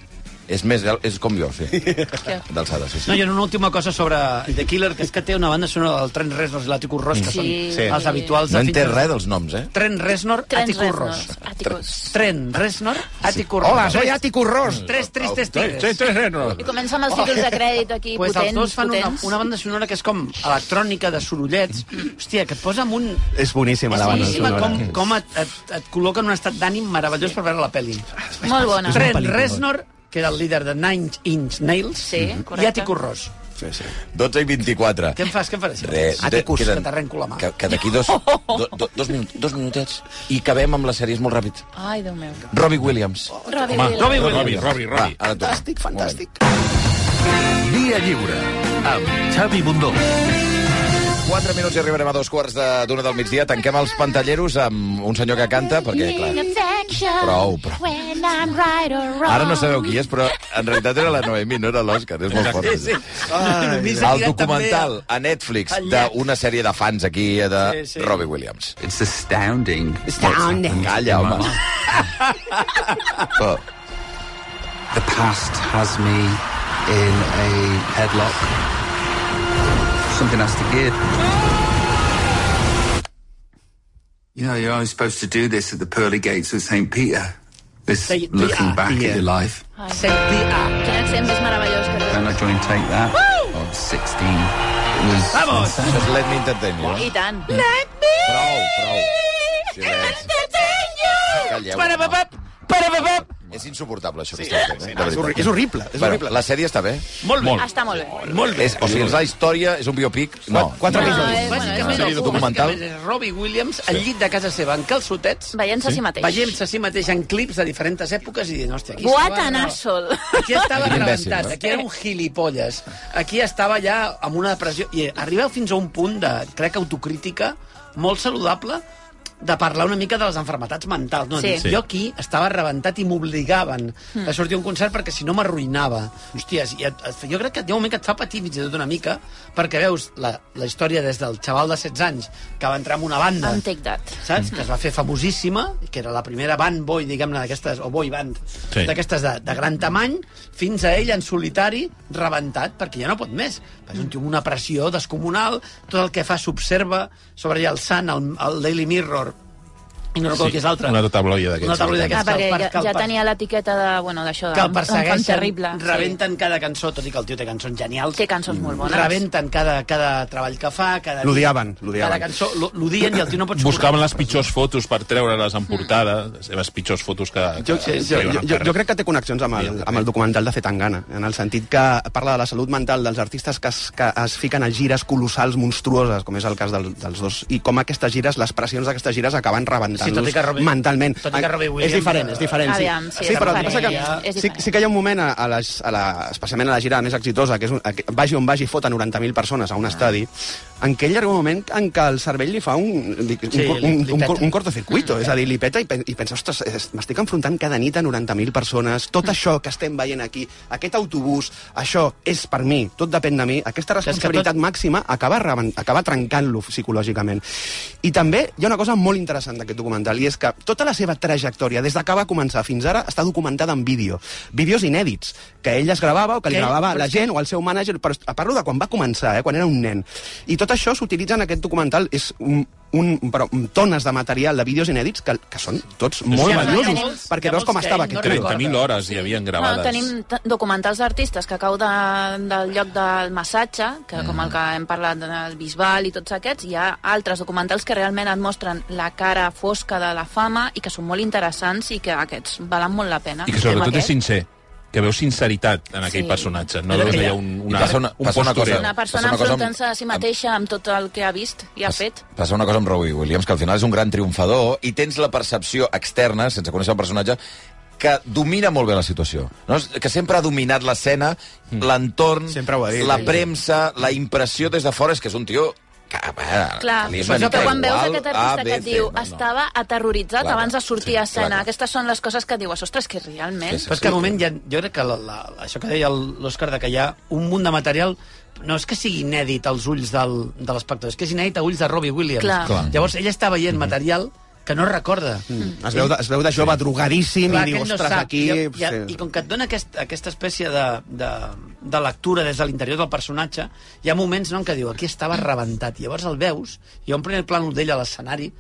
Speaker 1: És més, és com jo, sí.
Speaker 3: Que-
Speaker 1: D'alçada, sí,
Speaker 5: No,
Speaker 1: sí.
Speaker 5: hi ha una última cosa sobre The Killer, que és que té una banda sonora del Trent Reznor i l'Atticus Ross, que
Speaker 3: Sí. Sí.
Speaker 5: són els habituals.
Speaker 1: No
Speaker 5: de
Speaker 1: en té
Speaker 5: Fincher.
Speaker 1: res dels noms, eh?
Speaker 5: Trent Reznor,
Speaker 3: Trens
Speaker 5: Atticus
Speaker 3: Reznor.
Speaker 5: Ross.
Speaker 3: Atticus.
Speaker 5: Trent Reznor, Atticus Ross.
Speaker 4: Hola, soy Atticus Ross.
Speaker 5: Tres
Speaker 2: Tres,
Speaker 5: tristes tigres.
Speaker 2: tres, tres, renos.
Speaker 3: I comença amb els títols de crèdit aquí,
Speaker 5: pues els
Speaker 3: potents,
Speaker 5: dos fan una,
Speaker 3: potents.
Speaker 5: una banda sonora que és com electrònica de sorollets. Hòstia, que et posa amb un...
Speaker 4: És boníssima
Speaker 5: És
Speaker 4: la banda
Speaker 5: boníssima
Speaker 4: sonora.
Speaker 5: com, com et, et, et col·loca en un estat d'ànim meravellós per veure la pel·li.
Speaker 3: Molt bona.
Speaker 5: Trent Reznor, que era el líder de Nine Inch Nails,
Speaker 3: Sí,
Speaker 5: i
Speaker 3: correcte.
Speaker 5: Atticus Ross.
Speaker 1: 12 i 24.
Speaker 5: Què em fas? Què em faràs?
Speaker 1: Res,
Speaker 5: Atticus,
Speaker 1: de-
Speaker 5: que t'arrenco la mà.
Speaker 1: Que, que d'aquí dos, do, do, dos, minut, dos minutets i acabem amb les sèries molt ràpid.
Speaker 3: Ai, Déu meu.
Speaker 1: Robbie Williams.
Speaker 2: Home,
Speaker 3: Robbie Williams.
Speaker 2: Robbie Williams. Robbie, Robbie.
Speaker 1: Va, ara tu.
Speaker 4: Fantàstic, fantàstic.
Speaker 8: Via lliure amb Xavi Bundó.
Speaker 1: 4 minuts i arribarem a dos quarts de- d'una del migdia. Tanquem els pantalleros amb un senyor que canta, perquè, clar, prou, prou. Ara no sabeu qui és, però en realitat era la Noemi, no era l'Òscar. És molt fort.
Speaker 5: Sí, sí. Només ha
Speaker 1: El
Speaker 5: tirat
Speaker 1: documental
Speaker 5: també
Speaker 1: a Netflix
Speaker 5: al llac.
Speaker 1: d'una sèrie de fans aquí eh, de
Speaker 5: Sí, sí.
Speaker 1: Robbie Williams.
Speaker 8: It's astounding.
Speaker 4: Astounding.
Speaker 1: Calla, home.
Speaker 8: But the past has me in a headlock. Something has to give. You know, you're only supposed to do this at the pearly gates of St. Peter. This
Speaker 5: Say-
Speaker 8: looking
Speaker 5: yeah,
Speaker 8: back
Speaker 5: yeah.
Speaker 8: at your life.
Speaker 3: Ai,
Speaker 5: a- Senti a...
Speaker 3: Quin accent més meravellós que
Speaker 8: Then
Speaker 3: té.
Speaker 8: I joined Take That. I was 16. It was
Speaker 5: Vamos!
Speaker 1: Això és Let Me Entertain You. eh?
Speaker 3: I tant.
Speaker 1: Prou, prou. Silenci. Calleu,
Speaker 5: Para,
Speaker 1: home.
Speaker 5: pa, pa, para, pa, pa.
Speaker 1: És insuportable, això que esteu fent. eh? De
Speaker 4: És, horri
Speaker 1: veritat.
Speaker 4: és horrible, és
Speaker 1: Bueno,
Speaker 4: horrible.
Speaker 1: la sèrie està bé.
Speaker 5: Molt bé.
Speaker 3: Està molt bé.
Speaker 5: Molt bé.
Speaker 1: És, o sigui, és la història, és un biopic... No.
Speaker 4: Quatre
Speaker 3: No,
Speaker 4: episodis.
Speaker 3: és-
Speaker 5: Bàsicament,
Speaker 1: Ah,
Speaker 5: el
Speaker 1: sí,
Speaker 5: focus
Speaker 1: documental.
Speaker 5: bàsicament és Robbie Williams al llit de casa seva, en calçotets,
Speaker 3: Veient-se a si mateix.
Speaker 5: veient-se a si mateix en clips de diferents èpoques i dient, hòstia, aquí
Speaker 3: What
Speaker 5: estava...
Speaker 3: an
Speaker 5: no,
Speaker 3: asshole.
Speaker 5: Aquí estava
Speaker 1: Quin imbècil,
Speaker 5: rebentat,
Speaker 1: no?
Speaker 5: aquí era un gilipolles, aquí estava ja amb una depressió... I arribeu fins a un punt de, crec, autocrítica molt saludable de parlar una mica de les enfermetats mentals. No?
Speaker 3: Sí. Hmm.
Speaker 5: Dius, Jo aquí estava rebentat i m'obligaven a sortir a un concert perquè si no m'arruïnava. Hòsties, i et, et, jo crec que de moment que et fa patir fins i tot una mica perquè veus la, la història des del xaval de 16 anys que va entrar en una banda
Speaker 3: Em take that.
Speaker 5: saps? Que es va fer famosíssima, que era la primera band boy, diguem-ne, d'aquestes, o boy band,
Speaker 2: Sí.
Speaker 5: sí. d'aquestes de, de gran tamany, fins a ell en solitari, rebentat, perquè ja no pot més. És un tio amb una pressió descomunal, tot el que fa s'observa, sobre ella el Sant, el, el Daily Mirror, i no recordo sí, qui és l'altre.
Speaker 2: Una tota- tabloia d'aquests.
Speaker 5: Una tabloida
Speaker 3: Ah,
Speaker 5: d'aquests.
Speaker 3: perquè
Speaker 5: que el
Speaker 3: ja,
Speaker 5: per- que el
Speaker 3: ja
Speaker 5: per-
Speaker 3: tenia l'etiqueta de, bueno, d'això,
Speaker 5: que el
Speaker 3: fan
Speaker 5: persegueixen,
Speaker 3: terrible. sí.
Speaker 5: rebenten cada cançó, tot i que el tio té cançons genials.
Speaker 3: Té cançons molt bones.
Speaker 5: Rebenten cada, cada treball que fa, cada...
Speaker 4: L'odiaven, l'odiaven.
Speaker 5: Cada cançó, l'o- l'odien i el tio no pot
Speaker 2: Buscaven les pitjors fotos per treure-les en portada, les seves pitjors fotos que...
Speaker 4: Jo,
Speaker 2: que
Speaker 4: jo, jo, jo, jo crec que té connexions amb
Speaker 2: Sí,
Speaker 4: el,
Speaker 2: al
Speaker 4: amb el documental de Zetangana, en el sentit que parla de la salut mental dels artistes que es, que es fiquen a gires colossals, monstruoses, com és el cas del, dels dos, i com aquestes gires, les pressions d'aquestes gires acaben
Speaker 5: Sí, tot
Speaker 4: rebentant-los
Speaker 5: i que Robbie-
Speaker 4: mentalment.
Speaker 5: tot i que Robbie Williams-
Speaker 4: és diferent, és diferent, sí.
Speaker 3: Aviam, sí,
Speaker 4: sí,
Speaker 3: és
Speaker 4: però el que
Speaker 3: diferent,
Speaker 4: passa
Speaker 3: és
Speaker 4: que sí,
Speaker 3: diferent.
Speaker 4: sí que hi ha un moment, a, a, les, a la, especialment a la gira més exitosa, que és un, a, que- vagi on vagi, fota 90.000 persones a un estadi, en què ell arriba un moment en què el cervell li fa un, li,
Speaker 5: Sí,
Speaker 4: un,
Speaker 5: li-
Speaker 4: un,
Speaker 5: li
Speaker 4: un,
Speaker 5: peta.
Speaker 4: un, un cortocircuito, és a dir, li peta i, pen- i pensa, ostres, es- m'estic enfrontant cada nit a 90.000 persones, tot això que estem veient aquí, aquest autobús, això és per mi, tot depèn de mi, aquesta
Speaker 5: que
Speaker 4: responsabilitat màxima acaba, reban- acaba trencant-lo psicològicament. I també hi ha una cosa molt interessant d'aquest documental, i és que tota la seva trajectòria, des de que va començar fins ara, està documentada en vídeo. Vídeos inèdits, que ell es gravava o que li
Speaker 5: Que ell-
Speaker 4: gravava
Speaker 5: però
Speaker 4: la
Speaker 5: és que-
Speaker 4: gent o el seu mànager, però est- parlo de quan va començar, eh, quan era un nen. I tot això s'utilitza en aquest documental, és un, un, però, tones de material de vídeos inèdits que, que són tots
Speaker 2: hi ha
Speaker 4: molt
Speaker 2: molts-
Speaker 3: hi ha
Speaker 4: valiosos,
Speaker 3: molts-
Speaker 4: perquè
Speaker 5: hi ha
Speaker 4: veus com
Speaker 5: molts que
Speaker 4: estava
Speaker 5: ell no
Speaker 4: aquest tio.
Speaker 5: recorda.
Speaker 2: 30.000 hores hi havien gravades.
Speaker 3: No, Ah, tenim t- documentals d'artistes que cau de, del lloc del massatge, que mm. com el que hem parlat del Bisbal i tots aquests, hi ha altres documentals que realment et mostren la cara fosca de la fama i que són molt interessants i que aquests valen molt la pena.
Speaker 2: I que sobretot és
Speaker 3: Aquest.
Speaker 2: sincer que veus sinceritat en aquell
Speaker 3: Sí.
Speaker 2: personatge. No
Speaker 5: Però
Speaker 2: veus
Speaker 5: que
Speaker 2: allà
Speaker 5: ja-
Speaker 2: un,
Speaker 1: I
Speaker 2: una,
Speaker 1: passa una-
Speaker 2: un
Speaker 1: passa una
Speaker 2: postureo.
Speaker 1: cosa-
Speaker 3: Una persona
Speaker 1: Passa una cosa amb-
Speaker 3: enfrontant-se a si mateixa amb tot el que ha vist i ha
Speaker 1: Pas-
Speaker 3: fet.
Speaker 1: Passa una cosa amb Robbie Williams, que al final és un gran triomfador i tens la percepció externa, sense conèixer el personatge, que domina molt bé la situació. No? És- Que sempre ha dominat l'escena, l'entorn,
Speaker 4: Mm. Sempre ho ha dit,
Speaker 1: la
Speaker 4: sí.
Speaker 1: premsa, la impressió des de fora, és que és un tio que, a veure,
Speaker 3: Clar,
Speaker 1: li és
Speaker 3: però
Speaker 1: una
Speaker 3: que
Speaker 1: mica
Speaker 3: quan veus
Speaker 1: igual
Speaker 3: aquest
Speaker 1: A, B,
Speaker 3: artista que et
Speaker 1: C,
Speaker 3: diu
Speaker 1: no, no.
Speaker 3: estava aterroritzat
Speaker 1: Clar,
Speaker 3: abans de sortir a
Speaker 1: sí, clar.
Speaker 3: escena, aquestes són les coses que et dius, ostres, que realment...
Speaker 1: Sí,
Speaker 5: Però és que al moment ja, jo crec que la, la, això que deia el- l'Òscar, de que hi ha un munt de material no és que sigui inèdit als ulls del, de l'espectador, és que és inèdit a ulls de Robbie Williams.
Speaker 3: Clar. Clar.
Speaker 5: Llavors, ell està veient
Speaker 4: Mm-hmm.
Speaker 5: material que no recorda.
Speaker 4: Es veu de, es veu de jove drogadíssim
Speaker 5: Clar,
Speaker 4: Mm. i
Speaker 5: que
Speaker 4: diu,
Speaker 5: ell no
Speaker 4: ostres,
Speaker 5: sap.
Speaker 4: aquí...
Speaker 5: I,
Speaker 4: eh.
Speaker 5: i,
Speaker 4: sí.
Speaker 5: I com que et dona aquest, aquesta espècie de, de, de lectura des de l'interior del personatge, hi ha moments no, en què diu, aquí estava rebentat. I llavors el veus, hi ha un primer plànol d'ell a l'escenari,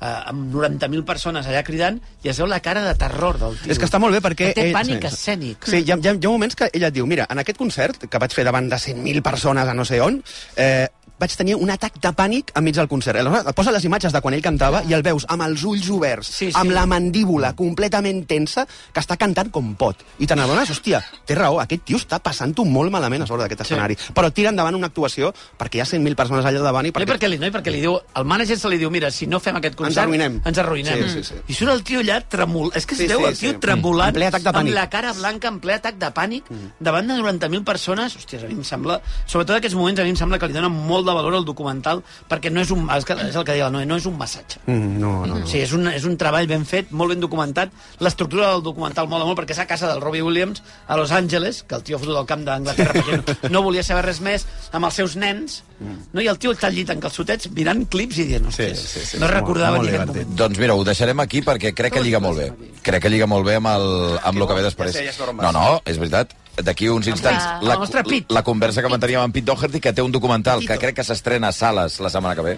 Speaker 5: eh, amb 90.000 persones allà cridant, i es veu la cara de terror del tio.
Speaker 4: És que està molt bé perquè...
Speaker 5: Que té
Speaker 4: ell-
Speaker 5: pànic escènic.
Speaker 4: Sí, hi ha, hi, ha, hi ha moments que ella et diu, mira, en aquest concert que vaig fer davant de 100.000 persones a no sé on, eh, vaig tenir un atac de pànic enmig del concert. Aleshores, et posa les imatges de quan ell cantava i el veus amb els ulls oberts,
Speaker 5: Sí, sí.
Speaker 4: amb la mandíbula completament tensa, que està cantant com pot. I te n'adones, hòstia, té raó, aquest tio està passant-ho molt malament a sobre d'aquest escenari. Però tira endavant una actuació perquè hi ha 100.000 persones allà davant i
Speaker 5: Perquè... No, i perquè, li, no, i perquè li diu, el mànager se li diu, mira, si no fem aquest concert...
Speaker 4: arruïnem."
Speaker 5: Ens arruïnem.
Speaker 4: Sí, sí, sí.
Speaker 5: I surt el tio allà tremol... És que es
Speaker 4: Sí,
Speaker 5: sí, veu
Speaker 4: sí,
Speaker 5: el tio
Speaker 4: sí.
Speaker 5: sí. tremolant,
Speaker 4: En ple atac de
Speaker 5: amb
Speaker 4: pànic.
Speaker 5: la cara blanca, en ple atac de pànic, mm. davant de 90.000 persones. Hòsties, a mi em sembla... Sobretot en aquests moments, a mi em sembla que li dona molt de valor al documental, perquè no és un... És que- és el que deia la Noe, no és un massatge.
Speaker 4: Mm, no, no, no.
Speaker 5: Sí, és un, és un treball ben fet, molt ben documentat. L'estructura del documental mola molt, perquè és a casa del Robbie Williams, a Los Angeles, que el tio ha fotut al camp d'Anglaterra perquè no, no volia saber res més, amb els seus nens, no? i el tio està al llit en calçotets mirant clips i dient, hòsties, sí, sí, sí, no recordava
Speaker 4: molt
Speaker 5: ni aquest
Speaker 4: divertit.
Speaker 5: moment.
Speaker 1: Doncs mira, ho deixarem aquí perquè crec que lliga molt bé. Crec que lliga molt bé amb el, amb el que ve després.
Speaker 4: Ja sé, ja sé on vas.
Speaker 1: No, no, és veritat. D'aquí uns instants,
Speaker 3: la-
Speaker 1: la,
Speaker 5: el nostre Pit.
Speaker 1: la conversa que manteníem amb Pete Doherty, que té un documental que
Speaker 5: Pitito.
Speaker 1: crec que s'estrena a sales la setmana que ve,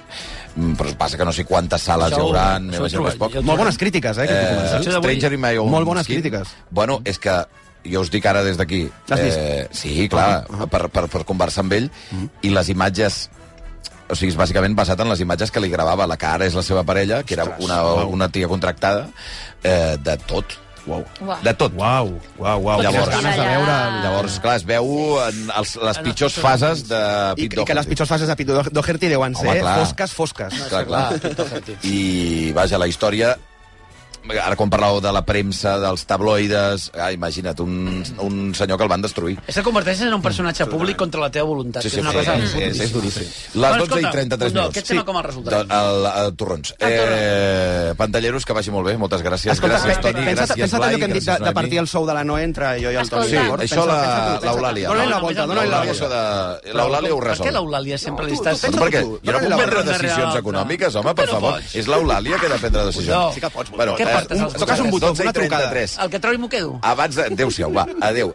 Speaker 1: Mm, però passa que no sé quantes sales
Speaker 5: Això
Speaker 1: hi
Speaker 5: ho-
Speaker 1: haurà,
Speaker 5: això ho
Speaker 1: m'imagino que és
Speaker 5: trobaré.
Speaker 1: poc.
Speaker 5: Jo-
Speaker 4: Molt bones crítiques, eh, aquest
Speaker 1: Eh,
Speaker 4: documental.
Speaker 5: Això d'avui-
Speaker 1: Stranger in my own
Speaker 4: Molt bones
Speaker 1: skin.
Speaker 4: crítiques.
Speaker 1: Bueno, és que jo us dic ara des d'aquí... Eh,
Speaker 4: L'has vist? Ah,
Speaker 1: sí, clar, per, per, per conversar amb ell,
Speaker 4: Mm-hmm.
Speaker 1: i les imatges o sigui, és bàsicament basat en les imatges que li gravava la que ara és la seva parella, que era una, una tia contractada, eh, de tot. Wow.
Speaker 3: Uau.
Speaker 1: De tot.
Speaker 10: Uau, uau, uau.
Speaker 3: Tot
Speaker 1: Llavors-
Speaker 3: i
Speaker 1: ganes
Speaker 4: de veure
Speaker 3: allà-
Speaker 1: Llavors, clar, es veu en els, les
Speaker 5: En
Speaker 1: pitjors
Speaker 5: els-
Speaker 1: fases de Pete
Speaker 4: I, I que les
Speaker 1: Doherty.
Speaker 4: pitjors fases de Pete Do- Doherty deuen ser
Speaker 1: Home, clar.
Speaker 4: fosques, fosques.
Speaker 1: Clar, clar. I, vaja, la història... Ara, quan parlàveu de la premsa, dels tabloides... Ah, imagina't, un, un senyor que el van destruir.
Speaker 5: És que converteixes en un personatge públic contra la teva voluntat. que és una cosa...
Speaker 1: és, és, és duríssim. Les
Speaker 5: Bueno,
Speaker 1: 12 i
Speaker 5: escolta,
Speaker 1: 33
Speaker 5: Condó,
Speaker 1: minuts.
Speaker 5: aquest tema com el resultat?
Speaker 1: Doncs, el, el Torrons. Eh, pantalleros, que vagi molt bé. Moltes gràcies.
Speaker 4: Escolta,
Speaker 1: gràcies,
Speaker 4: pe-
Speaker 1: Toni.
Speaker 4: pensa't,
Speaker 1: gràcies,
Speaker 4: pensa't allò
Speaker 1: Blai,
Speaker 4: que hem dit de,
Speaker 1: gràcies,
Speaker 4: de
Speaker 1: Noemi.
Speaker 4: partir el sou de la Noé entre jo i el Toni.
Speaker 3: Sí,
Speaker 4: d'acord?
Speaker 1: això
Speaker 4: Pensa-
Speaker 1: la-
Speaker 4: pensa tu, pensa-
Speaker 1: l'Eulàlia.
Speaker 4: Dóna-li la
Speaker 5: No,
Speaker 4: volta,
Speaker 5: no,
Speaker 4: dóna-li la
Speaker 5: no,
Speaker 1: L'Eulàlia
Speaker 5: no,
Speaker 1: s'ho
Speaker 4: volta.
Speaker 1: de... L'Eulàlia ho
Speaker 5: Per
Speaker 1: resol.
Speaker 5: què l'Eulàlia sempre li
Speaker 1: No,
Speaker 5: estàs...
Speaker 1: perquè jo no puc
Speaker 4: Dóna-li la
Speaker 1: prendre
Speaker 5: volta.
Speaker 1: decisions
Speaker 5: Real,
Speaker 1: econòmiques, home,
Speaker 5: clar.
Speaker 1: per
Speaker 5: Tu no
Speaker 1: favor.
Speaker 5: pots.
Speaker 1: És l'Eulàlia que ha de prendre decisions.
Speaker 5: Sí que
Speaker 4: pots,
Speaker 1: Bueno, eh,
Speaker 5: Què portes Doncs
Speaker 1: un-
Speaker 5: als
Speaker 1: toques un
Speaker 5: botons?
Speaker 1: botó,
Speaker 4: Una
Speaker 1: una
Speaker 4: trucada.
Speaker 1: trucada.
Speaker 5: El que trobi m'ho quedo.
Speaker 1: Abans de... Adéu-siau, va, adéu.